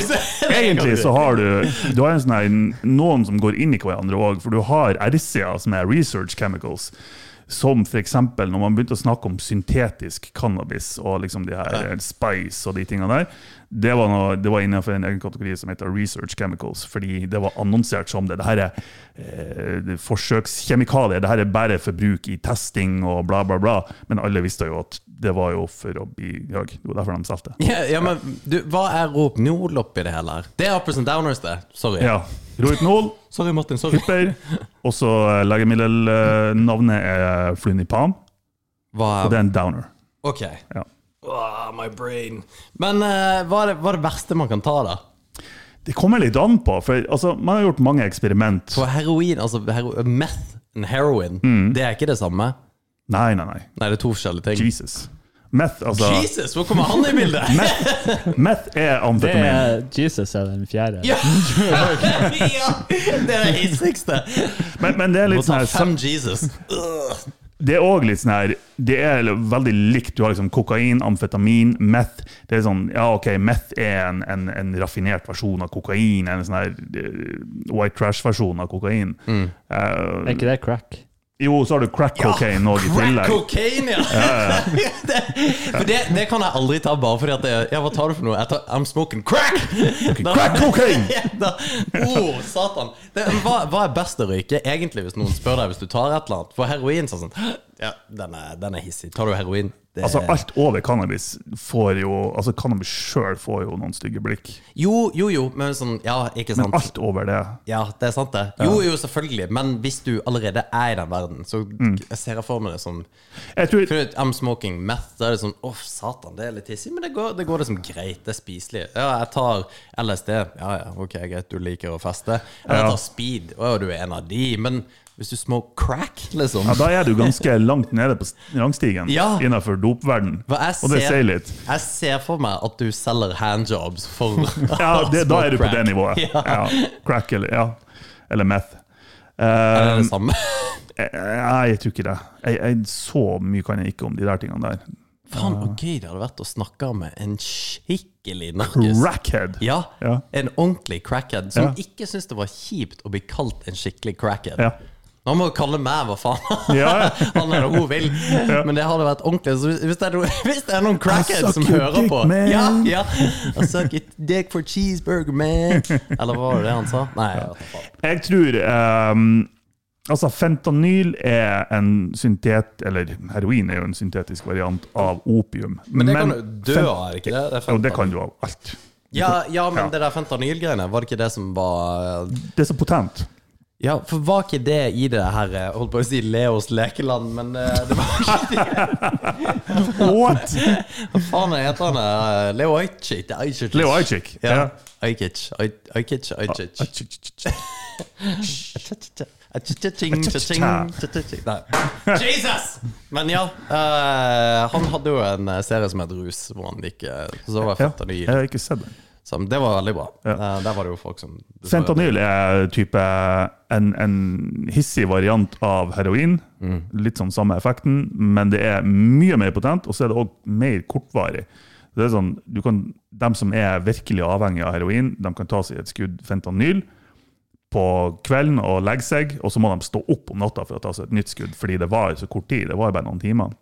Speaker 2: egentlig så har du, du har en sånn her, noen som går inn i hverandre òg, for du har RCA, som er research chemicals. Som f.eks. når man begynte å snakke om syntetisk cannabis og liksom de her eh, spice og de tingene der. Det var, noe, det var innenfor en egen kategori som heter research chemicals, fordi det var annonsert som det. Det her er eh, det er forsøkskjemikalier, det her er bare for bruk i testing og bla, bla, bla. Men alle visste jo at det var jo for å bli høy. Det var derfor de solgte.
Speaker 1: Ja, ja, men du, hva er Rohypnol oppi det hele her? Det er uppers and downers, det. Sorry.
Speaker 2: Ja. Rohypnol,
Speaker 1: Sorry, Martin. Sorry.
Speaker 2: hypper, og så eh, legemiddelnavnet er eh, flunipam, og
Speaker 1: Hva
Speaker 2: det
Speaker 1: er
Speaker 2: er en downer.
Speaker 1: Ok.
Speaker 2: Ja.
Speaker 1: Åh, my brain. Men eh, hva, er det, hva er det verste man kan ta, da?
Speaker 2: Det kommer litt an på, for altså, man har gjort mange eksperiment.
Speaker 1: På heroin, altså hero meth and heroin, det er ikke det samme?
Speaker 2: Nei, nei, nei.
Speaker 1: Nei, det er to forskjellige ting.
Speaker 2: Mm. Jesus. Meth, altså,
Speaker 1: Jesus, hvor kommer han i
Speaker 2: (laughs)
Speaker 1: bildet?
Speaker 2: meth er
Speaker 3: Det
Speaker 2: amfetamin.
Speaker 3: er Jesus er den fjerde.
Speaker 1: Ja! (laughs) ja! Det er det hissigste.
Speaker 2: Men, men det er
Speaker 1: Må
Speaker 2: litt
Speaker 1: ta
Speaker 2: sånn her,
Speaker 1: fem Jesus.
Speaker 2: det er også litt sånn her Det er veldig likt. Du har liksom kokain, amfetamin, meth. Det er sånn, ja ok, Meth er en, en, en raffinert versjon av kokain. En sånn her eh, white trash-versjon av kokain.
Speaker 1: Mm.
Speaker 2: Eh,
Speaker 3: Er ikke det crack?
Speaker 2: jo, så har du crack cocaine òg i
Speaker 1: Crack
Speaker 2: tillegg.
Speaker 1: cocaine, ja! det, for (laughs) det, det kan jeg aldri ta, bare fordi at det, Ja, hva tar du for noe? Jeg tar I'm smoking crack! Da-
Speaker 2: Crack cocaine!
Speaker 1: (laughs) Ja, da- oh, satan. Det, hva, hva er best å røyke, egentlig, hvis noen spør deg hvis du tar et eller annet? For heroin så er sånn (gasps) Ja, den er, den er hissig. Tar du heroin? Det,
Speaker 2: Altså, alt over cannabis får jo Altså, cannabis sjøl får jo noen stygge blikk.
Speaker 1: jo, jo, jo, men sånn Ja, ikke sant?
Speaker 2: Alt over det.
Speaker 1: Ja, det er sant det. Jo, jo, selvfølgelig. Men hvis du allerede er i den verden, så jeg ser jeg for meg det som
Speaker 2: Jeg tror,
Speaker 1: for at I'm smoking meth, da er det sånn Åh, satan, det er litt hissig, men det går, det går liksom greit. Det er spiselig. Ja, jeg tar LSD. Ja, ja, ok, greit, du liker å feste. Eller
Speaker 2: Ja.
Speaker 1: jeg tar speed. Å, du er en av de. Men hvis du smoker crack, liksom
Speaker 2: ja, da er du
Speaker 1: (laughs)
Speaker 2: ganske langt nede på s- rangstigen
Speaker 1: Ja.
Speaker 2: innenfor dopverden.
Speaker 1: For jeg
Speaker 2: Og det
Speaker 1: ser-
Speaker 2: sier litt.
Speaker 1: Jeg ser for meg at du selger handjobs
Speaker 2: (laughs)
Speaker 1: for (laughs)
Speaker 2: Ja, det, da er du på det nivået.
Speaker 1: Ja.
Speaker 2: Ja. Crack eller, ja. eller meth.
Speaker 1: Er det
Speaker 2: Eh,
Speaker 1: det samme?
Speaker 2: Nei, jeg tror ikke det. Jeg, jeg, så mye kan jeg ikke om de der tingene der.
Speaker 1: (laughs) Faen, så gøy det hadde vært å snakke med en skikkelig narkis.
Speaker 2: Crackhead!
Speaker 1: Ja,
Speaker 2: Ja.
Speaker 1: en ordentlig crackhead som
Speaker 2: Ja.
Speaker 1: ikke syntes det var kjipt å bli kalt en skikkelig crackhead.
Speaker 2: Ja.
Speaker 1: Nå må du kalle meg hva faen
Speaker 2: (laughs)
Speaker 1: (laughs)
Speaker 2: Ja.
Speaker 1: han eller hun vil, men det hadde vært ordentlig. Så hvis- hvis, det er noen, (laughs) hvis det er noen
Speaker 2: I
Speaker 1: crackheads
Speaker 2: suck
Speaker 1: som
Speaker 2: your
Speaker 1: hører
Speaker 2: dick,
Speaker 1: på
Speaker 2: man.
Speaker 1: ja, ja. I suck your dick for cheeseburger, man. Eller hva var det han sa? Nei, jeg vet ikke faen.
Speaker 2: Jeg tror ehm, Altså, fentanyl er en syntet... Eller heroin er jo en syntetisk variant av opium.
Speaker 1: Men det kan du dø av, er det ikke det? Det er
Speaker 2: Jo, det
Speaker 1: fentanyl.
Speaker 2: kan du av alt.
Speaker 1: Ja, ja, men
Speaker 2: Ja.
Speaker 1: det der fentanylgreiene, var det ikke det som var eh,
Speaker 2: Det er så potent.
Speaker 1: Ja, for var ikke det i det her eh, Holdt på å si Leos lekeland, men eh, det var ikke det. (laughs)
Speaker 2: What?
Speaker 1: Hva faen heter han? eh, Leo Ajkic? Ajkic.
Speaker 2: Leo Ajkic,
Speaker 1: Ja.
Speaker 2: ja. Ah,
Speaker 1: Ajkic. Aj- Ajkic. Ajkic. Cha-cha-ching, cha-ching, cha-cha-ching. Nei. Jesus! Men ja, eh, han hadde jo en eh, serie som het Rus, hvor han gikk eh, Så var
Speaker 2: Ja,
Speaker 1: fentanyl.
Speaker 2: jeg har ikke sett den.
Speaker 1: Så det var veldig bra. Eh, der var det jo folk som
Speaker 2: Fentanyl er type en, en hissig variant av heroin. Litt sånn samme effekten, men det er mye mer potent, og så er det òg mer kortvarig. Det er sånn, du kan, dem som er virkelig avhengig av heroin, de kan ta seg et skudd fentanyl på kvelden og legge seg, og så må de stå opp om natta for å ta seg et nytt skudd, fordi det var så kort tid. Det var jo bare noen timer.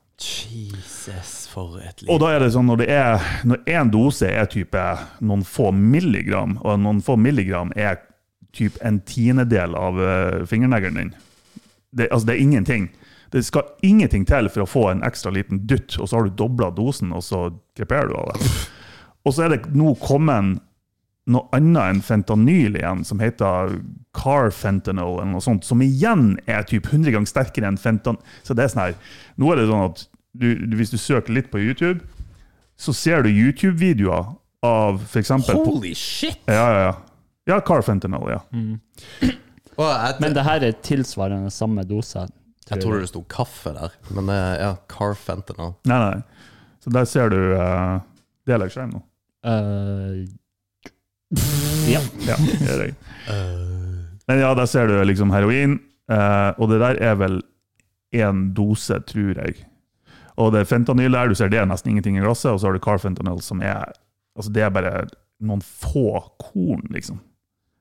Speaker 1: Jesus, for et liv.
Speaker 2: Og da er det sånn når det er Når én dose er type noen få milligram, og noen få milligram er typ en tiendedel av eh, fingerneglen din det, Altså, det er ingenting. Det skal ingenting til for å få en ekstra liten dytt, og så har du dobla dosen, og så kreperer du av det. Og så er det nå kommet noe annet enn fentanyl igjen, som heter carfentanyl, eller noe sånt, som igjen er typ 100 ganger sterkere enn fentan... Så det er sånn her, nå er det sånn at du, du, hvis du søker litt på YouTube, så ser du YouTube-videoer av for eksempel... på-
Speaker 1: Holy shit!
Speaker 2: Ja, ja, ja. Ja, carfentanyl, ja.
Speaker 1: Og jeg,
Speaker 3: Men det her er tilsvarende samme dose.
Speaker 1: jeg tror det sto kaffe der, men eh, ja, carfentanil.
Speaker 2: Nei, nei. Så der ser du uh, Deler jeg skjerm nå?
Speaker 3: Eh, ja.
Speaker 2: Ja, det gjør jeg. Eh. Men ja, der ser du liksom heroin, eh, og det der er vel én dose, tror jeg. Og det fentanyl der, du ser det er nesten ingenting i glasset, og så har du carfentanyl, som er Altså, det er bare noen få korn, liksom.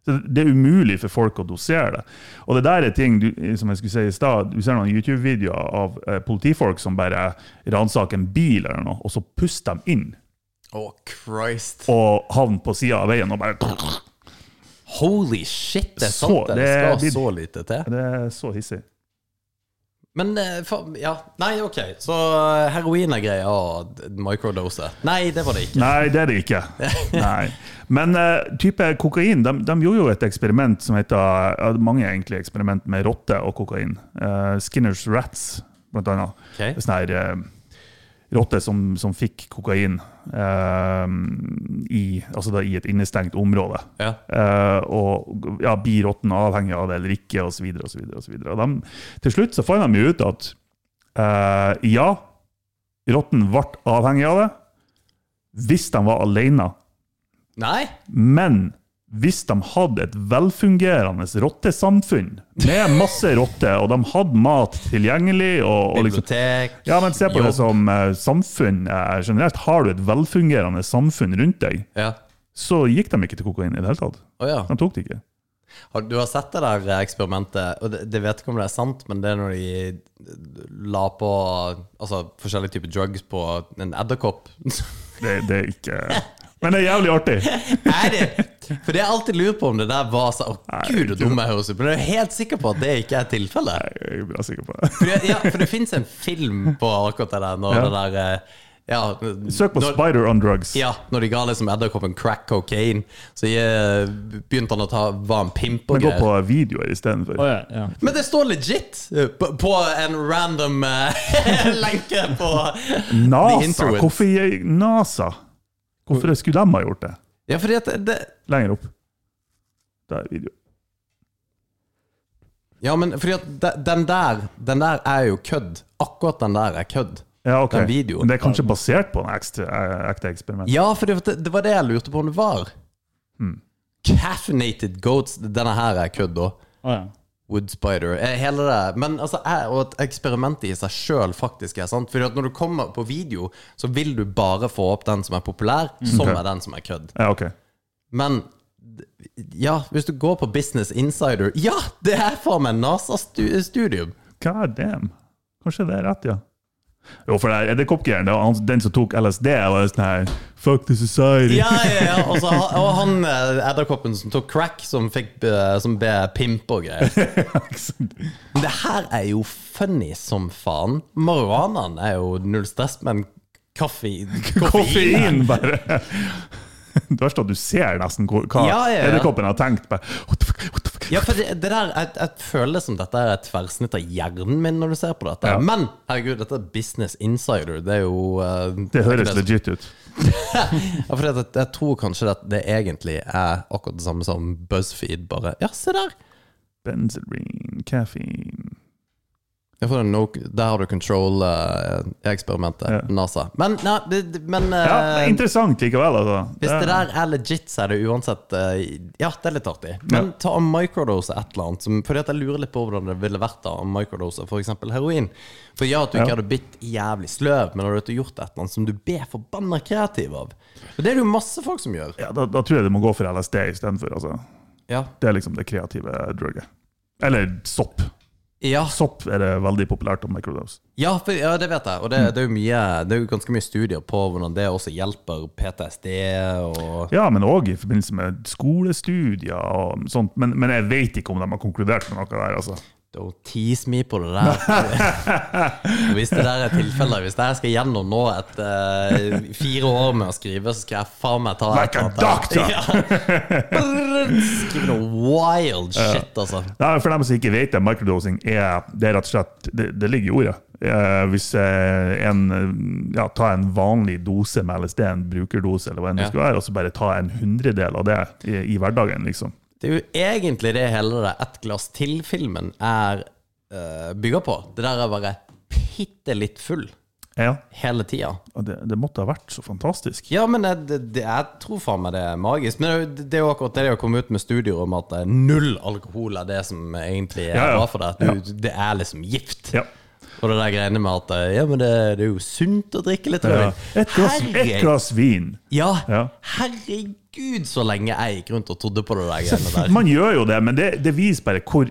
Speaker 2: Så det er umulig for folk å dosere det. Og det der er ting du, som jeg skulle si i stad. Du ser noen YouTube-videoer av eh, politifolk som bare ransaker en bil eller noe, og så puster de inn
Speaker 1: Å, Christ.
Speaker 2: og havner på sida av veien og bare
Speaker 1: Holy shit, det er
Speaker 2: Så,
Speaker 1: sant! Det,
Speaker 2: det er
Speaker 1: skal
Speaker 2: blitt-
Speaker 1: så lite til.
Speaker 2: Det er så hissig.
Speaker 1: Men eh, faen, ja. Nei, OK. Så eh, heroin er greia, og d- microdose. Nei, det var det ikke.
Speaker 2: Nei, det er det ikke. Nei. Men eh, type kokain, de, de gjorde jo et eksperiment som heter ja, Mange egentlig eksperiment med rotte og kokain. Eh, Skinners Rats, blant annet.
Speaker 1: Ok.
Speaker 2: Sånn her eh, rotte som, som fikk kokain eh, i, altså da, i et innestengt område.
Speaker 1: Ja.
Speaker 2: Eh, og ja, blir rotten avhengig av det eller ikke, osv. Til slutt så fant de jo ut at eh, ja, rotten ble avhengig av det hvis de var alene,
Speaker 1: Nei?
Speaker 2: men hvis de hadde et velfungerende rottesamfunn med masse rotter, og de hadde mat tilgjengelig og, og liksom,
Speaker 1: Bibliotek
Speaker 2: ja, men Se på
Speaker 1: jobb.
Speaker 2: det som eh, samfunn eh, generelt. Har du et velfungerende samfunn rundt deg,
Speaker 1: Ja.
Speaker 2: så gikk de ikke til kokain i det hele tatt.
Speaker 1: Å ja.
Speaker 2: De tok det ikke.
Speaker 1: Har- Du har sett det der eh, eksperimentet, og det, det vet ikke om det er sant, men det er når de eh, la på altså, forskjellige typer drugs på en edderkopp. (laughs)
Speaker 2: Det, det er ikke Men det er jævlig artig.
Speaker 1: er det? For det jeg alltid lurer på om det der var sånn Å, gud, så dum jeg høres ut, men jeg er helt sikker på at det ikke er tilfellet.
Speaker 2: Jeg er bra sikker på det.
Speaker 1: For det, ja, for det fins en film på akkurat det der, når
Speaker 2: Ja.
Speaker 1: det der eh, ja,
Speaker 2: Søk på
Speaker 1: når,
Speaker 2: Spider on drugs.
Speaker 1: Ja, når de ga liksom edderkoppen crack cocaine, så eh, begynte han å ta var en pimp og
Speaker 2: Men gå
Speaker 1: greier.
Speaker 2: på videoer istedenfor.
Speaker 3: Å ja, ja.
Speaker 1: Men det står legit eh, på, på en random eh, (laughs) lenke på The
Speaker 2: NASA!
Speaker 1: Interwebs.
Speaker 2: Hvorfor jeg, NASA? Hvorfor skulle de ha gjort det?
Speaker 1: Ja, fordi at det
Speaker 2: Lenger opp. Der er video.
Speaker 1: Ja, men fordi at de- den der Den der er jo kødd. Akkurat den der er kødd.
Speaker 2: Ja, ok.
Speaker 1: Den videoen.
Speaker 2: Men det er kanskje basert på en ekstra, eh, ekte eksperiment.
Speaker 1: Ja, for det, det var det jeg lurte på om det var.
Speaker 2: Hmm.
Speaker 1: Caffeinated goats Denne her er kødd, da.
Speaker 3: Å ja.
Speaker 1: Wood spider eh, Hele det. Men altså, jeg, og at eksperimentet i seg sjøl faktisk er sant. Fordi at når du kommer på video, så vil du bare få opp den som er populær, som
Speaker 2: Ok.
Speaker 1: er den som er kødd.
Speaker 2: Ja, ok.
Speaker 1: Men ja, hvis du går på Business Insider Ja, det er faen meg NASA-studium!
Speaker 2: God damn. Kanskje det er rett, ja. Jo, for det er edderkoppgreiene. det var han- Den som tok LSD, var sånn her Fuck the society. (laughs)
Speaker 1: Ja, ja, ja. (laughs) Og, så, ha- og han eh, edderkoppen som tok crack, som, fikk, eh, som ble pimp og greier. Men det her er jo funny som faen. Marihuanaen er jo null stress, men kaffe, koffein
Speaker 2: Koffein, bare. (laughs) Det verste er at du ser nesten hvor- hva
Speaker 1: Ja, ja, ja.
Speaker 2: edderkoppen har tenkt. Bare, what the fuck, what the fuck?
Speaker 1: Ja, for det, det der, jeg, jeg føler som dette er et tverrsnitt av hjernen min når du ser på dette.
Speaker 2: Ja.
Speaker 1: Men herregud, dette er business insider. Det er jo eh,
Speaker 2: Det
Speaker 1: er ikke
Speaker 2: høres
Speaker 1: som-
Speaker 2: legit ut.
Speaker 1: Ja, for det, at jeg tror kanskje at det egentlig er akkurat det samme som BuzzFeed, bare Ja, se der!
Speaker 2: Benzorin, caffeine
Speaker 1: Ja, for det er no, der har du control-eksperimentet.
Speaker 2: Ja.
Speaker 1: NASA. Men, nei, det- det- men
Speaker 2: Ja, det
Speaker 1: eh,
Speaker 2: er Interessant likevel, altså.
Speaker 1: hvis det
Speaker 2: Ja.
Speaker 1: der er legit, så er det uansett eh, Ja, det er litt artig. Men
Speaker 2: Ja.
Speaker 1: ta en microdose et eller annet. Som, fordi at jeg lurer litt på hvordan det ville vært da om microdose f.eks. heroin. For ja, at du ikke
Speaker 2: Ja.
Speaker 1: hadde blitt jævlig sløv, men hadde du gjort et eller annet som du ber forbanna kreativ av. Og det er det jo masse folk som gjør.
Speaker 2: ja, da, da tror jeg du må gå for LSD istedenfor. Altså.
Speaker 1: Ja,
Speaker 2: Det er liksom det kreative drugget. Eller sopp.
Speaker 1: ja
Speaker 2: Sopp er det veldig populært om microdose.
Speaker 1: Ja, for, ja, det vet jeg. Og det, det, er jo mye, det er jo ganske mye studier på hvordan det også hjelper PTSD og
Speaker 2: Ja, men òg i forbindelse med skolestudier og sånt. Men, men jeg vet ikke om de har konkludert med noe der, altså.
Speaker 1: Don't tease me på det
Speaker 2: (laughs)
Speaker 1: der. hvis det der er tilfellet, hvis jeg skal gjennom nå et eh, fire år med å skrive, så skal jeg faen meg ta
Speaker 2: Like a doctor!
Speaker 1: Ja. Skrive noe wild shit, altså.
Speaker 2: Nei, for dem som ikke vet det, microdosing er, det er rett og slett Det, det ligger i ordet. Eh, hvis eh, en eh, ja, tar en vanlig dose med LSD, en brukerdose, eller hva enn
Speaker 1: Ja.
Speaker 2: det skulle være, og så bare ta en hundredel av det i, i hverdagen, liksom.
Speaker 1: Det er jo egentlig det hele det Ett glass til-filmen er eh, bygger på. Det der er bare bitte litt full
Speaker 2: Ja,
Speaker 1: hele tida.
Speaker 2: og det, det måtte ha vært så fantastisk.
Speaker 1: Ja, men jeg, det, det, jeg tror faen meg det er magisk. Men det, er jo- det er jo akkurat det å komme ut med studier om at eh, null alkohol er det som egentlig er
Speaker 2: Ja, ja.
Speaker 1: bra for deg. Du, Det er liksom gift.
Speaker 2: Ja.
Speaker 1: Og det der greiene med at eh, ja, men det, det er jo sunt å drikke litt
Speaker 2: Ja.
Speaker 1: rødvin.
Speaker 2: Eh, Et, glass, et
Speaker 1: Herregud.
Speaker 2: glass vin.
Speaker 1: Ja,
Speaker 2: Ja.
Speaker 1: herregud så lenge jeg gikk rundt og trodde på det der greiene der.
Speaker 2: Man gjør jo det, men det, det viser bare hvor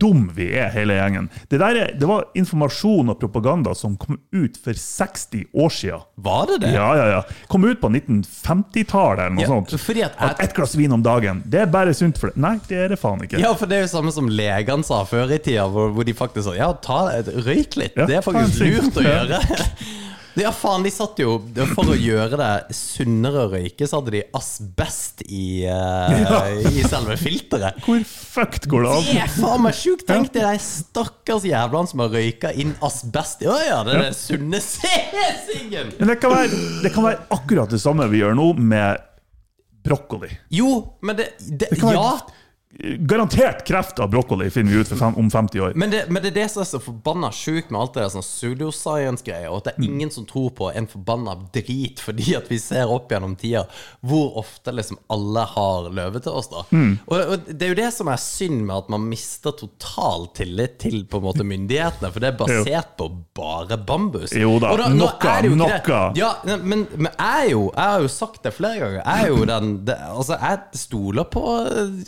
Speaker 2: dum vi er, hele gjengen. Det, der er, det var informasjon og propaganda som kom ut for 60 år siden.
Speaker 1: Var det det?
Speaker 2: Ja, ja, ja. Kom ut på 1950-tallet eller noe
Speaker 1: Ja,
Speaker 2: sånt.
Speaker 1: fordi at jeg-
Speaker 2: At ett glass vin om dagen, det er bare sunt for deg. Nei, det er det faen ikke.
Speaker 1: Ja, for det er jo samme som legene sa før i tida, hvor, hvor de faktisk sa ja, ta, røyk litt.
Speaker 2: Ja,
Speaker 1: det er
Speaker 2: ta en
Speaker 1: faktisk
Speaker 2: sigg.
Speaker 1: lurt å gjøre. (laughs) Ja, faen, de satt jo For å gjøre det sunnere å røyke, så hadde de asbest i,
Speaker 2: (laughs)
Speaker 1: eh, i selve filteret.
Speaker 2: Hvor fucked går det
Speaker 1: Det
Speaker 2: an?
Speaker 1: er faen meg sjukt! Tenk deg de stakkars jævlene som har røyka inn asbest i Å ja, det er den sunne C-siggen!
Speaker 2: Men det kan, være, det kan være akkurat det samme vi gjør nå med brokkoli.
Speaker 1: Jo, men det, det,
Speaker 2: kan være-
Speaker 1: Ja!
Speaker 2: Garantert kreft av brokkoli finner vi ut for fem, om 50 år.
Speaker 1: Men det, men det er det som er så forbanna sjukt med alt det der sånn pseudoscience-greier, og at det er ingen som tror på en forbanna drit, fordi at vi ser opp gjennom tida hvor ofte liksom alle har løve til oss, da. Og, og det er jo det som er synd med at man mister total tillit til på en måte myndighetene, for det er basert på bare bambus.
Speaker 2: Jo da,
Speaker 1: Og nå
Speaker 2: noe,
Speaker 1: er det jo ikke det.
Speaker 2: noe.
Speaker 1: Ja, ne- men, men jeg, er jo, jeg har jo sagt det flere ganger. Jeg er
Speaker 2: (clears throat)
Speaker 1: jo den det, Altså, jeg stoler på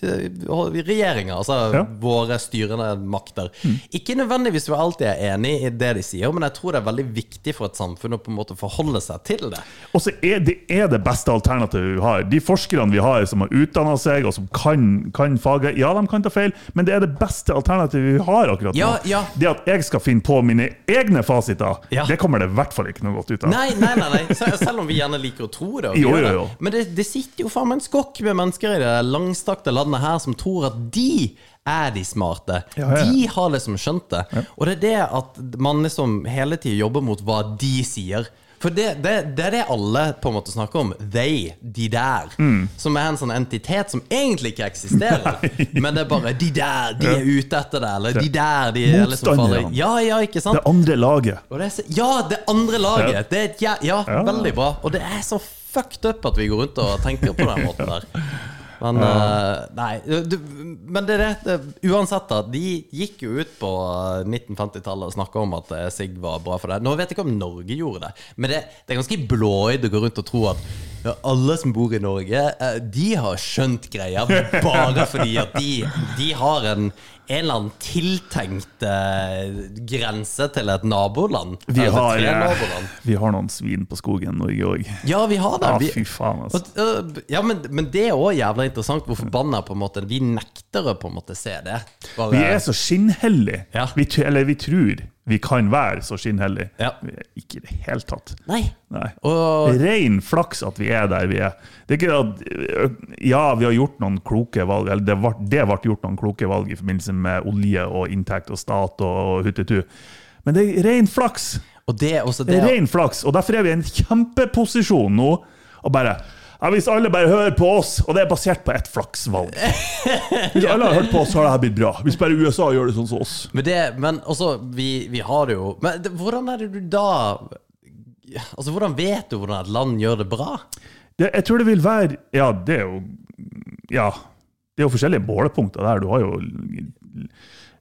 Speaker 1: eh, regjeringa, altså
Speaker 2: Ja. Mm.
Speaker 1: våre styrende makter. Ikke nødvendigvis vi alltid er enig i det de sier, men jeg tror det er veldig viktig for et samfunn å på en måte forholde seg til det.
Speaker 2: Og så er det, er det beste alternativet vi har. De forskerne vi har som har utdanna seg og som kan, kan faget, ja, de kan ta feil, men det er det beste alternativet vi har akkurat
Speaker 1: Ja,
Speaker 2: nå.
Speaker 1: ja.
Speaker 2: Det at jeg skal finne på mine egne fasiter,
Speaker 1: Ja.
Speaker 2: det kommer det i hvert fall ikke noe godt ut av.
Speaker 1: Nei, nei, nei, nei. Sel- Selv om vi gjerne liker å tro det. og vi
Speaker 2: Jo,
Speaker 1: gjør
Speaker 2: jo,
Speaker 1: det.
Speaker 2: jo.
Speaker 1: Men det, det sitter jo faen meg en skokk med mennesker i det langstrakte landet her som tror at de er de smarte.
Speaker 2: Ja, ja, ja.
Speaker 1: De har liksom skjønt det. Og det er det at man liksom hele tiden jobber mot hva de sier. For det, det, det er det alle på en måte snakker om. They, de der.
Speaker 2: Mm.
Speaker 1: Som er en sånn entitet som egentlig ikke
Speaker 2: (laughs)
Speaker 1: eksisterer. Men det er bare de der, de er ute etter det. Eller de der, de er liksom farlige.
Speaker 2: Motstanderne.
Speaker 1: Ja, ja, ikke sant?
Speaker 2: Det andre laget.
Speaker 1: Og det er så, ja, det andre laget!
Speaker 2: Ja.
Speaker 1: Det er et, ja, ja, veldig bra. Og det er så fucked up at vi går rundt og tenker på den måten der. Men eh, nei du, Men det er det, det Uansett, da. De gikk jo ut på 1950-tallet og snakka om at eh, sigg var bra for deg. Nå vet jeg ikke om Norge gjorde det, men det, det er ganske blåøyd å gå rundt og tro at ja, alle som bor i Norge, eh, de har skjønt greia
Speaker 2: (laughs)
Speaker 1: bare fordi at de, de har en en eller annen tiltenkt eh, grense til et naboland.
Speaker 2: Vi
Speaker 1: Eller
Speaker 2: har,
Speaker 1: tre
Speaker 2: eh,
Speaker 1: naboland.
Speaker 2: vi har noen svin på skogen, Norge òg.
Speaker 1: Ja, vi har det.
Speaker 2: Ja,
Speaker 1: Vi,
Speaker 2: fy faen, altså.
Speaker 1: og, øh, ja, men, men det er òg jævla interessant hvor forbanna på en måte, vi nekter å på en måte se det. Bare,
Speaker 2: Vi er så skinnhellige.
Speaker 1: Ja.
Speaker 2: Vi, tr- eller vi tror vi kan være så skinnhellige.
Speaker 1: Ja.
Speaker 2: Vi er Ikke i det hele tatt.
Speaker 1: Nei.
Speaker 2: Nei.
Speaker 1: Og
Speaker 2: Ren flaks at vi er der vi er. Det er ikke at, ø, ja, vi har gjort noen kloke valg, eller det ble, det ble gjort noen kloke valg i forbindelse med olje og inntekt og stat og huttetu, men det er ren flaks!
Speaker 1: Og det er også
Speaker 2: Det
Speaker 1: det
Speaker 2: er ren flaks, og derfor er vi i en kjempeposisjon nå. Og bare ja, Hvis alle bare hører på oss, og det er basert på ett flaksvalg Hvis alle har hørt på oss, så har det her blitt bra. Hvis bare USA gjør det sånn som oss.
Speaker 1: Men det Men også, vi, vi har det jo Men det, hvordan er det du da Altså, hvordan vet du hvordan et land gjør det bra?
Speaker 2: Det, jeg tror det vil være Ja, det er jo Ja. Det er jo forskjellige målepunkter der. Du har jo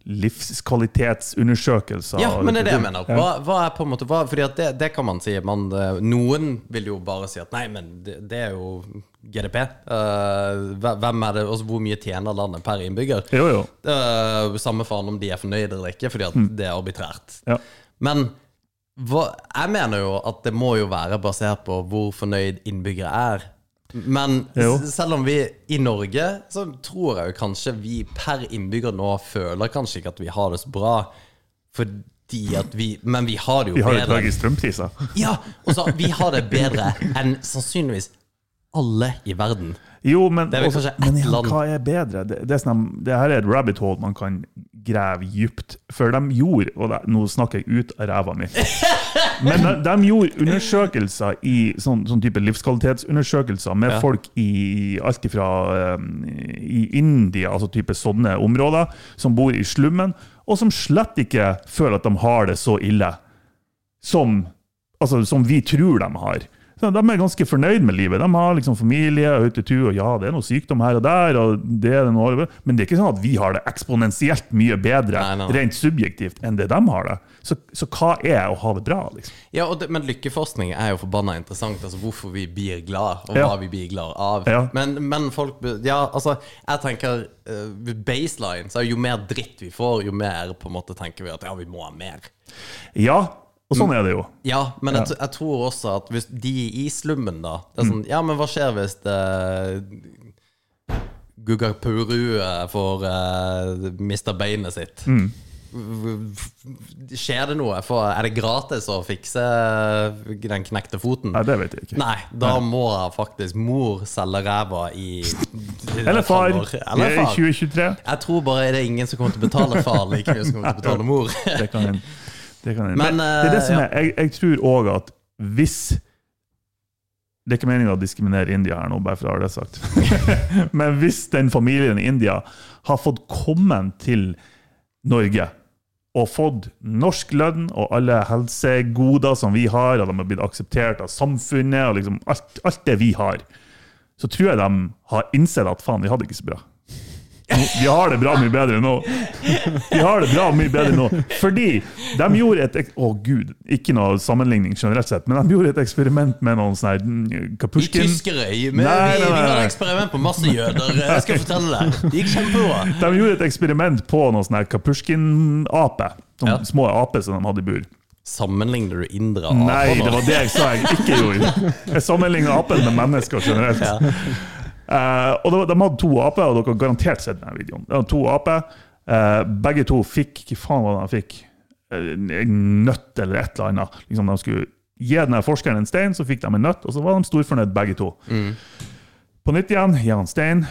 Speaker 2: livskvalitetsundersøkelser.
Speaker 1: Ja, men det er det jeg mener.
Speaker 2: Ja.
Speaker 1: Hva, hva er på en måte hva, Fordi at det, det kan man si. Man, eh, noen vil jo bare si at nei, men det, det er jo GDP. Eh, hve- hvem er det, altså Hvor mye tjener landet per innbygger?
Speaker 2: Jo, jo.
Speaker 1: Eh, samme faen om de er fornøyde eller ikke, fordi at
Speaker 2: Mm.
Speaker 1: det er arbitrært.
Speaker 2: Ja.
Speaker 1: Men hva, jeg mener jo at det må jo være basert på hvor fornøyd innbyggere er. Men
Speaker 2: Jo.
Speaker 1: s- selv om vi i Norge, så tror jeg jo kanskje vi per innbygger nå føler kanskje ikke at vi har det så bra. Fordi at vi Men vi har det jo
Speaker 2: Vi har jo
Speaker 1: bedre.
Speaker 2: tragisk strømpriser.
Speaker 1: Ja, og så vi har det bedre enn sannsynligvis alle i verden.
Speaker 2: Jo, men,
Speaker 1: Det er vel
Speaker 2: også-
Speaker 1: kanskje
Speaker 2: men
Speaker 1: ett
Speaker 2: ja,
Speaker 1: land.
Speaker 2: hva er bedre? Det, det, er sånn, det her er et rabbit hole man kan grave djupt. For de gjorde, og det, nå snakker jeg ut av ræva
Speaker 1: (laughs)
Speaker 2: mi, men de, de gjorde undersøkelser i sånn, sånn type livskvalitetsundersøkelser med folk i alt ifra um, i India, altså type sånne områder, som bor i slummen, og som slett ikke føler at de har det så ille som, altså, som vi tror de har. Så de er ganske fornøyd med livet. De har liksom familie og hyttetur, og ja, det er noe sykdom her og der, og det er det noe, men det er ikke sånn at vi har det eksponentielt mye bedre
Speaker 1: Nei, nei, nei.
Speaker 2: rent subjektivt enn det de har det. Så, så hva er å ha det bra, liksom?
Speaker 1: Ja, og det, Men lykkeforskning er jo forbanna interessant. Altså Hvorfor vi blir glad, og
Speaker 2: Ja.
Speaker 1: hva vi blir glad av.
Speaker 2: Ja.
Speaker 1: Men, men folk be- Ja, altså, jeg tenker eh, baseline. Så jo mer dritt vi får, jo mer på en måte tenker vi at ja, vi må ha mer.
Speaker 2: Ja, og
Speaker 1: Mm.
Speaker 2: sånn er det jo.
Speaker 1: Ja, men jeg, t- jeg tror også at hvis de i slummen, da det er
Speaker 2: Mm.
Speaker 1: sånn, Ja, men hva skjer hvis det Gugapuru eh, får uh, mista beinet sitt?
Speaker 2: Mm.
Speaker 1: Skjer det noe? For, er det gratis å fikse eh, den knekte foten?
Speaker 2: Nei, det vet jeg ikke.
Speaker 1: Nei, da må faktisk mor selge ræva i
Speaker 2: Eller far. Vi
Speaker 1: Eller
Speaker 2: er i
Speaker 1: far.
Speaker 2: 2023.
Speaker 1: Jeg tror bare det er ingen som kommer til å betale far like mye som kommer til å betale mor. (laughs)
Speaker 2: (laughs) Det kan hende. Det, kan hende.
Speaker 1: Men,
Speaker 2: Men, det er det som
Speaker 1: eh,
Speaker 2: er. Jeg, jeg tror òg at hvis Det er ikke meninga å diskriminere India her nå, bare for å ha det sagt. (laughs) Men hvis den familien i India har fått kommet til Norge og fått norsk lønn og alle helsegoder som vi har, og de har blitt akseptert av samfunnet og liksom alt, alt det vi har, så tror jeg de har innsett at faen, vi hadde ikke så bra. Vi har det bra mye bedre nå. Vi har det bra mye bedre nå. Fordi de gjorde et ek- Å, gud. Ikke noe sammenligning generelt sett, men de gjorde et eksperiment med noen sånne her, mm,
Speaker 1: I
Speaker 2: Kapuskin.
Speaker 1: Tyskerøy. Men
Speaker 2: Nei,
Speaker 1: vi,
Speaker 2: nei,
Speaker 1: vi
Speaker 2: nei,
Speaker 1: har
Speaker 2: nei.
Speaker 1: eksperiment på masse jøder. Eh, Jeg skal fortelle deg. Det gikk kjempebra.
Speaker 2: De gjorde et eksperiment på noen sånne her Kapuskin-ape. Sånne
Speaker 1: Ja.
Speaker 2: små aper som de hadde i bur.
Speaker 1: Sammenligner du indre og
Speaker 2: Nei,
Speaker 1: aper nå?
Speaker 2: det var det jeg sa jeg ikke gjorde. Jeg sammenligna apen med mennesker generelt. Eh, og det var, De hadde to aper, og dere har garantert sett denne videoen. Det var to aper, eh, Begge to fikk Hva faen var det de fikk? Eh, En nøtt eller et eller annet. Liksom De skulle gi denne forskeren en stein, så fikk de en nøtt, og så var de storfornøyd begge to. På nytt igjen, gi han stein.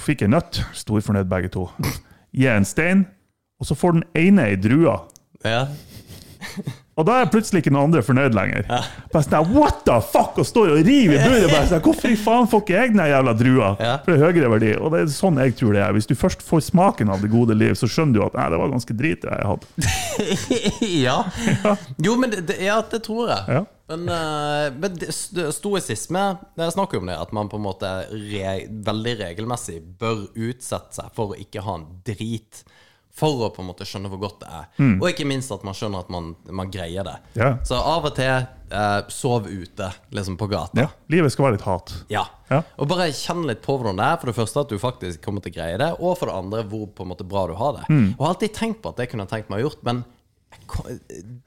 Speaker 2: Fikk en nøtt, storfornøyd begge to. Gi en stein, og så får den ene ei drue.
Speaker 1: Ja. (laughs)
Speaker 2: Og da er plutselig ikke noen andre fornøyd lenger. Bare sånn, her, What the fuck? Og står og river i buret. Bare sånn, her, Hvorfor i faen får ikke jeg den her jævla drua?
Speaker 1: Ja.
Speaker 2: For det er høyere verdi. Og det er sånn jeg tror det er. Hvis du først får smaken av det gode liv, så skjønner du at nei, det var ganske drit det jeg hadde.
Speaker 1: ja. Jo, men det, det- ja, det tror jeg.
Speaker 2: Ja.
Speaker 1: Men, eh, men det- st- stoisisme Jeg snakker jo om det, at man på en måte re, veldig regelmessig bør utsette seg for å ikke ha en drit. For å på en måte skjønne hvor godt det er. Og ikke minst at man skjønner at man, man greier det.
Speaker 2: Mm. Ja.
Speaker 1: Så av og til eh, sov ute, liksom på gata.
Speaker 2: Ja. Livet skal være litt hat.
Speaker 1: Ja.
Speaker 2: Ja.
Speaker 1: Og bare kjenn litt på hvordan det er. For det første at du faktisk
Speaker 2: Mm.
Speaker 1: kommer til å greie det, og for det andre hvor på en måte bra du har det. Og jeg har alltid tenkt på at det kunne jeg tenkt meg å gjort, men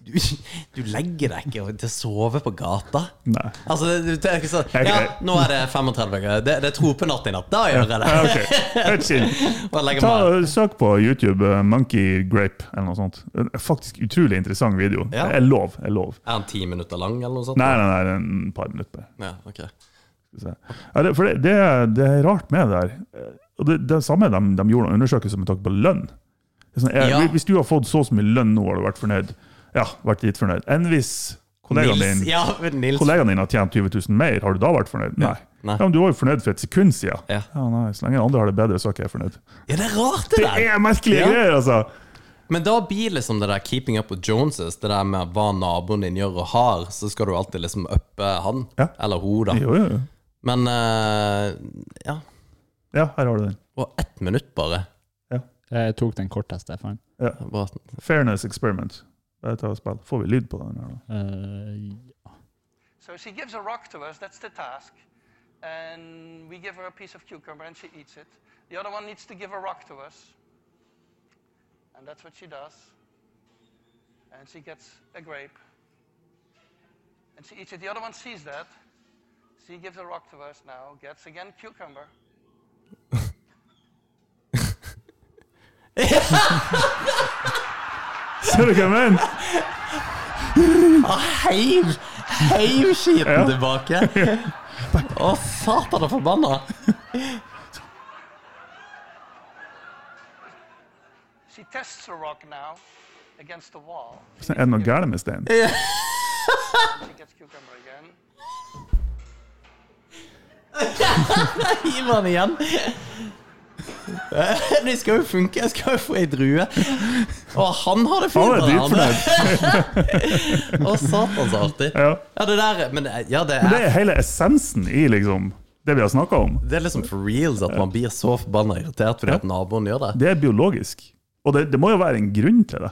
Speaker 1: Du, (laughs) du legger deg ikke til å sove på gata.
Speaker 2: Nei.
Speaker 1: Altså, det- du tenker ikke sånn
Speaker 2: Jeg-
Speaker 1: Ja,
Speaker 2: jeg-
Speaker 1: nå er det 35 grader. Det, det er tropenatt i natt. Da gjør jeg
Speaker 2: Ja,
Speaker 1: det.
Speaker 2: ok. Helt chill.
Speaker 1: (laughs) Bare legger meg.
Speaker 2: Ta, søk på YouTube eh, 'Monkey Grape' eller noe sånt. En Faktisk utrolig interessant video.
Speaker 1: Ja.
Speaker 2: Jeg lov, jeg lov.
Speaker 1: Er den ti minutter lang, eller noe sånt?
Speaker 2: Nei, nei, nei, en par minutter. bare.
Speaker 1: Ja, ok
Speaker 2: Skal vi se. Ja, det, for det, det, er- det er rart med det der. Eh, Og det, det er samme de, de gjorde en undersøkelse med tanke på lønn. Det er Sånn, eh,
Speaker 1: Ja.
Speaker 2: Hvis du har fått så og så mye lønn nå, har du vært fornøyd. Ja, vært litt fornøyd. Enn hvis kollegaen
Speaker 1: Nils,
Speaker 2: din,
Speaker 1: ja, men Nils
Speaker 2: kollegaen din har tjent 20 000 mer, har du da vært fornøyd? Nei.
Speaker 1: Nei.
Speaker 2: Ja, men du var jo fornøyd for et sekund siden.
Speaker 1: Ja.
Speaker 2: nei, så lenge andre har det bedre, så er ikke jeg fornøyd.
Speaker 1: Ja, det er rart, det
Speaker 2: Det
Speaker 1: der!
Speaker 2: er merkelige
Speaker 1: Ja.
Speaker 2: greier, altså!
Speaker 1: Men da blir liksom det der keeping up with Joneses, det der med hva naboen din gjør og har, så skal du alltid liksom uppe han.
Speaker 2: Ja.
Speaker 1: Eller hun, da.
Speaker 2: Jo, jo, jo.
Speaker 1: Men eh, ja.
Speaker 2: Ja, her har du den.
Speaker 1: Og ett minutt, bare.
Speaker 3: Jeg tok den korteste jeg fant.
Speaker 1: Bare-
Speaker 2: Fairness experiment. Bare ta og spill. Får vi lyd på den? her da?
Speaker 3: Eh,
Speaker 4: So she gives a rock to us, that's the task. And we give her a piece of cucumber and she eats it. The other one needs to give a rock to us. And that's what she does. And she gets a grape. And she eats it. The other one sees that. She gives a rock to us now, gets again cucumber.
Speaker 2: (laughs) Ser du hva jeg mener?
Speaker 1: Ah, heiv heiv skiten
Speaker 2: Ja.
Speaker 1: tilbake! Å, satan og forbanna!
Speaker 4: She tests the rock now against the wall.
Speaker 2: Så Sånn, Er det noe galt med Stein?
Speaker 4: She gets cucumber again.
Speaker 1: Hiv han igjen! Eh, Det skal jo funke, jeg skal jo få ei drue. Og han har det
Speaker 2: Han
Speaker 1: fint!
Speaker 2: er
Speaker 1: han andre.
Speaker 2: dritfornøyd.
Speaker 1: Å, satan så artig.
Speaker 2: Ja.
Speaker 1: Ja, det der Men eh, ja, det er,
Speaker 2: Det er hele essensen i liksom, det vi har snakka om.
Speaker 1: det er liksom for reals at man blir så forbanna irritert fordi at naboen gjør det.
Speaker 2: Det er biologisk. Og det, det må jo være en grunn til det.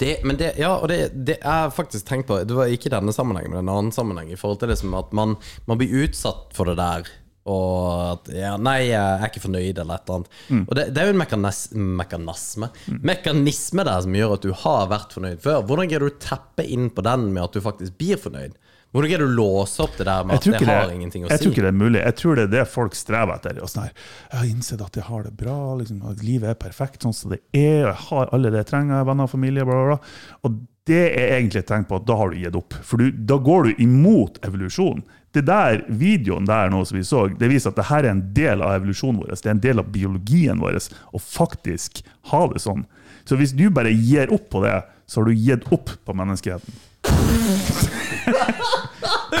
Speaker 1: det men det, ja, og det, det er faktisk tenkt på Det var ikke i denne sammenhengen, men en annen sammenheng. I forhold til liksom at man, man blir utsatt for det der. Og at ja, 'Nei, jeg er ikke fornøyd', eller et eller annet.
Speaker 2: Mm.
Speaker 1: Og det, det er jo en mekanis mekanisme Mekanisme der som gjør at du har vært fornøyd før. Hvordan greier du å teppe inn på den med at du faktisk blir fornøyd? Hvordan greier du å låse opp det der med
Speaker 2: Jeg
Speaker 1: at
Speaker 2: tror,
Speaker 1: det
Speaker 2: ikke
Speaker 1: har
Speaker 2: det,
Speaker 1: ingenting å
Speaker 2: jeg
Speaker 1: si?
Speaker 2: tror ikke det er mulig. Jeg tror det er det folk strever etter. Og sånn her, jeg har innsett at jeg har det bra, liksom, at livet er perfekt sånn som det er, og jeg har alle det jeg trenger, venner og familie, bla, bla, bla. Og det er egentlig et tegn på at da har du gitt opp. For du, da går du imot evolusjonen. Det der videoen der nå som vi så, det viser at det her er en del av evolusjonen vår. Det er en del av biologien vår å faktisk ha det sånn. Så hvis du bare gir opp på det, så har du gitt opp på menneskeheten.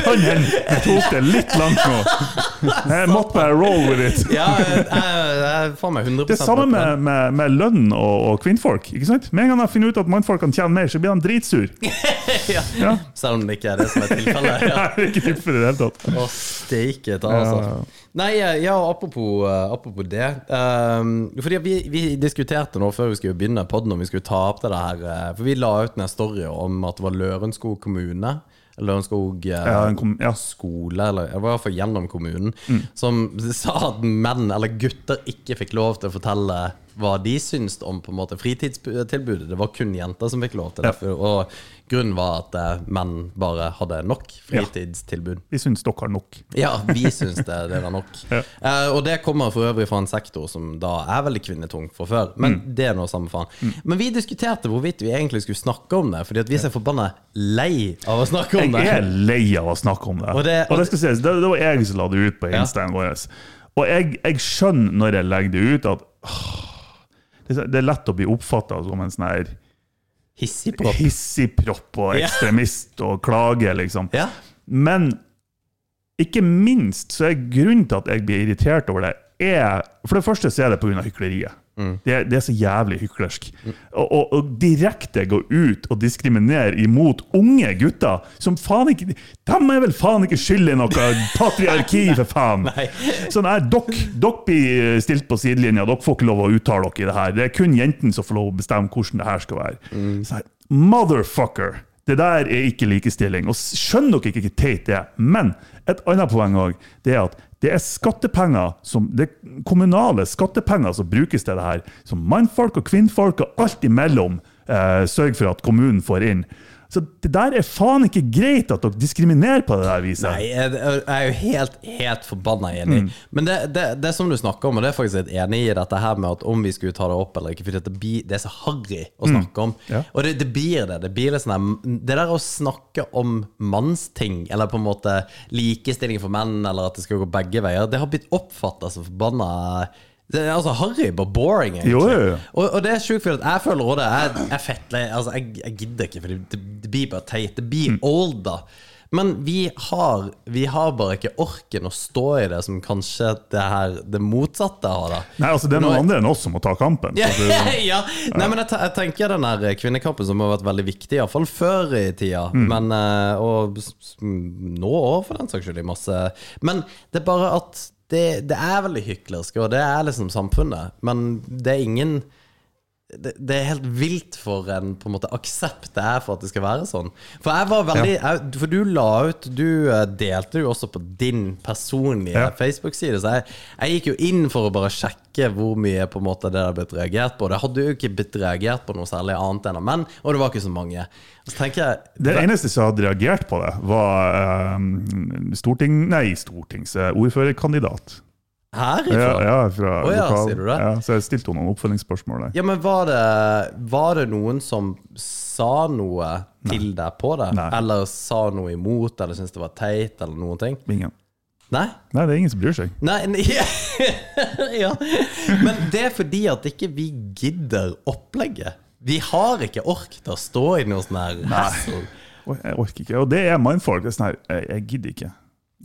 Speaker 2: Kan hende. Jeg tok det litt langt nå. Jeg måtte bare roll with it.
Speaker 1: Ja, jeg, jeg, jeg får meg 100
Speaker 2: Det er samme
Speaker 1: opp på den.
Speaker 2: med, med, med lønn og, og kvinnfolk. ikke sant? Med en gang de finner ut at mannfolkene tjener mer, så blir de dritsur. (laughs) Ja.
Speaker 1: Selv om det ikke er det som er tilfellet. Ja.
Speaker 2: Nei, det er ikke tilfellet i det hele tatt.
Speaker 1: Å, steike ta, altså. Nei, ja, apropos, eh, apropos det. ehm, fordi at vi, vi diskuterte nå før vi skulle begynne podden om vi skulle ta opp det der eh, For vi la ut en story om at det var Lørenskog kommune. Lørenskog eh,
Speaker 2: Ja, en Mm. kom, ja.
Speaker 1: skole, eller i hvert fall gjennom kommunen, som (laughs) sa at menn eller gutter ikke fikk lov til å fortelle hva de syns om på en måte fritidstilbudet. Det var kun jenter som fikk lov til det.
Speaker 2: Ja.
Speaker 1: Og grunnen var at eh, menn bare hadde nok fritidstilbud.
Speaker 2: Vi syns dere har nok.
Speaker 1: Ja, vi syns det, det var
Speaker 2: (laughs)
Speaker 1: nok. Eh, og det kommer for øvrig fra en sektor som da er veldig kvinnetung fra før. Men
Speaker 2: Mm.
Speaker 1: det er nå samme faen. Men vi diskuterte hvorvidt vi egentlig skulle snakke om det, fordi at vi er så forbanna lei av å snakke om
Speaker 2: Jeg
Speaker 1: det.
Speaker 2: er lei av å snakke om det.
Speaker 1: Og
Speaker 2: Og det,
Speaker 1: det-
Speaker 2: skal sies, det, det var jeg som la det ut på
Speaker 1: Ja.
Speaker 2: Instaen vår. Og jeg, jeg skjønner når jeg legger det ut, at åh, det er- det er lett å bli oppfatta som en sånn her
Speaker 1: Hissig propp.
Speaker 2: hissigpropp og
Speaker 1: Ja.
Speaker 2: ekstremist og klage, liksom.
Speaker 1: Ja.
Speaker 2: Men ikke minst så er grunnen til at jeg blir irritert over det, er For det første så er det pga. hykleriet.
Speaker 1: Mm.
Speaker 2: Det, er- det er så jævlig hyklersk. Og, og, og direkte gå ut og diskriminere imot unge gutter som faen ikke De er vel faen ikke skyld i noe patriarki, for
Speaker 1: (laughs)
Speaker 2: faen! (laughs)
Speaker 1: Nei.
Speaker 2: Sånn Så nei, dere, dere blir stilt på sidelinja, dere får ikke lov å uttale dere i det her. Det er kun jentene som får lov å bestemme hvordan det her skal være.
Speaker 1: Mm.
Speaker 2: Så her, motherfucker! Det der er ikke likestilling. Og skjønner dere ikke hvor teit det er? Men et annet poeng òg, det er at det er skattepenger som, det er kommunale skattepenger som brukes til det her. Som mannfolk og kvinnfolk og alt imellom Eh, sørg for at kommunen får inn. Så det der er faen ikke greit at dere diskriminerer på det der viset.
Speaker 1: Nei, jeg, jeg er jo helt, helt forbanna enig.
Speaker 2: Mm.
Speaker 1: Men det, det, det som du snakker om, og det er faktisk litt enig i dette her med at om vi skulle ta det opp eller ikke, for det, blir- det er så harry å snakke om.
Speaker 2: Mm. Ja.
Speaker 1: Og det, det blir det. Det blir litt sånn her, det der å snakke om mannsting, eller på en måte likestilling for menn, eller at det skal gå begge veier, det har blitt oppfatta som forbanna det er altså harry, bare boring, egentlig.
Speaker 2: Jo, jo, jo.
Speaker 1: Og, og det er sjukt, for at jeg føler også det. Jeg, jeg, er fettlei. altså, jeg, jeg gidder ikke, for det, det blir bare teit. Det blir old, da. Men vi har, vi har bare ikke orken å stå i det som kanskje det her det motsatte har,
Speaker 2: (laughs)
Speaker 1: da.
Speaker 2: Nei, altså Det er noen
Speaker 1: Nå-
Speaker 2: andre enn oss som må ta kampen. Altså,
Speaker 1: Ja,
Speaker 2: Så det,
Speaker 1: (laughs) ja. Nei, men jeg, te- jeg tenker den der kvinnekampen som har vært veldig viktig, iallfall før i tida. Men, eh, og s- s- nå òg, for den saks skyld. i masse Men det er bare at det, det er veldig hyklersk, og det er liksom samfunnet. Men det er ingen det, det er helt vilt for en på en måte aksept det er for at det skal være sånn. For jeg var veldig jeg, For du la ut Du eh, delte jo også på din personlige
Speaker 2: Ja.
Speaker 1: Facebook-side, så jeg, jeg gikk jo inn for å bare sjekke hvor mye på en måte det hadde blitt reagert på. Det hadde jo ikke blitt reagert på noe særlig annet enn av menn, og det var ikke så mange. Så tenker jeg
Speaker 2: det eneste som hadde reagert på det, var eh, storting, nei, stortingsordførerkandidat.
Speaker 1: Herifra?
Speaker 2: Ja, ja, fra
Speaker 1: Å ja,
Speaker 2: lokal-
Speaker 1: sier du det?
Speaker 2: Ja, så jeg stilte henne noen oppfølgingsspørsmål. der.
Speaker 1: Ja, men var det, var det noen som sa noe til deg på det?
Speaker 2: Nei.
Speaker 1: Eller sa noe imot, eller syntes det var teit, eller noen ting?
Speaker 2: Ingen.
Speaker 1: Nei?
Speaker 2: Nei, det er ingen som bryr seg.
Speaker 1: Nei, nei (laughs) ja. ja. Men det er fordi at ikke vi gidder opplegget. Vi har ikke ork til å stå i noe sånn her hassle.
Speaker 2: Oi, Jeg orker ikke. Og det er mannfolk. Det er sånn her, jeg, jeg gidder ikke.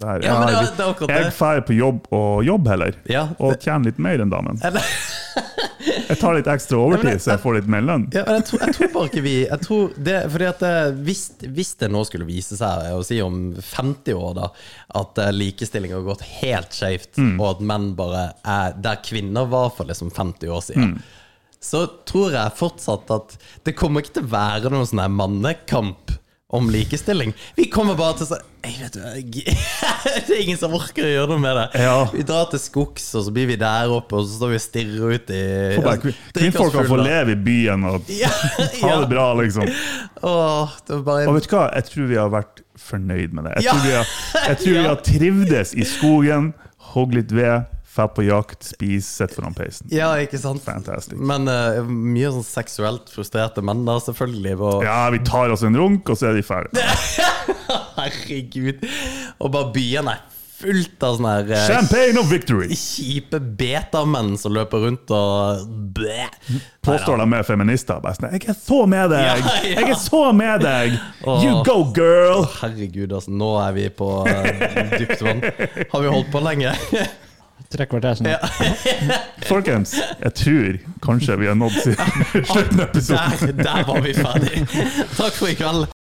Speaker 2: Det her,
Speaker 1: Ja, men det
Speaker 2: jeg
Speaker 1: er-
Speaker 2: litt-
Speaker 1: det er akkurat det.
Speaker 2: jeg drar på jobb og jobb heller,
Speaker 1: Ja,
Speaker 2: og
Speaker 1: det-
Speaker 2: tjener litt mer enn damen.
Speaker 1: Eller-
Speaker 2: Jeg tar litt ekstra
Speaker 1: Ja, men
Speaker 2: overtid,
Speaker 1: det-
Speaker 2: så jeg får litt mer lønn.
Speaker 1: Ja, men jeg, tror, jeg tror bare ikke vi jeg tror det, fordi at eh, hvis, hvis det nå skulle vise seg, jeg vil si om 50 år, da at eh, likestilling har gått helt skjevt,
Speaker 2: Mm.
Speaker 1: og at menn bare er der kvinner var for liksom 50 år siden,
Speaker 2: Mm.
Speaker 1: så tror jeg fortsatt at det kommer ikke til å være noen sånn her mannekamp om likestilling. Vi kommer bare til sånn «Ei, vet du, jeg, (laughs) Det er ingen som orker å gjøre noe med det.
Speaker 2: Ja.
Speaker 1: Vi drar til skogs, og så blir vi der oppe, og så står vi og stirrer ut i Altså,
Speaker 2: Får bare kvin- Kvinnfolk kan få leve i byen og
Speaker 1: (laughs) Ja,
Speaker 2: ha
Speaker 1: ja.
Speaker 2: det bra, liksom.
Speaker 1: Åh, det var bare
Speaker 2: Og vet du hva? Jeg tror vi har vært fornøyd med det. Jeg
Speaker 1: Ja.
Speaker 2: tror vi har, jeg tror vi
Speaker 1: (laughs) Ja.
Speaker 2: har trivdes i skogen, hogg litt ved, dratt på jakt, spist, sett foran peisen.
Speaker 1: Ja, ikke sant?
Speaker 2: Fantastic.
Speaker 1: Men eh, mye sånn seksuelt frustrerte menn da, selvfølgelig. Og,
Speaker 2: Ja, vi tar oss en runk, og så er de ferdige.
Speaker 1: Herregud. Og bare byene er fullt av sånne her eh,
Speaker 2: Champagne og victory!
Speaker 1: kjipe betamenn som løper rundt og Bæ.
Speaker 2: Påstår de er feminister. Bare sånn, 'Jeg er så med deg!
Speaker 1: Ja, ja.
Speaker 2: Jeg er så med deg! You
Speaker 1: Åh.
Speaker 2: go, girl!'
Speaker 1: Herregud, altså. Nå er vi på eh, dypt vann. Har vi holdt på lenge? (laughs)
Speaker 3: Tre kvarter sånn siden.
Speaker 2: Folkens, jeg tror kanskje vi har nådd siden- slutten av episoden.
Speaker 1: Der, der var vi ferdig. Takk for i kveld.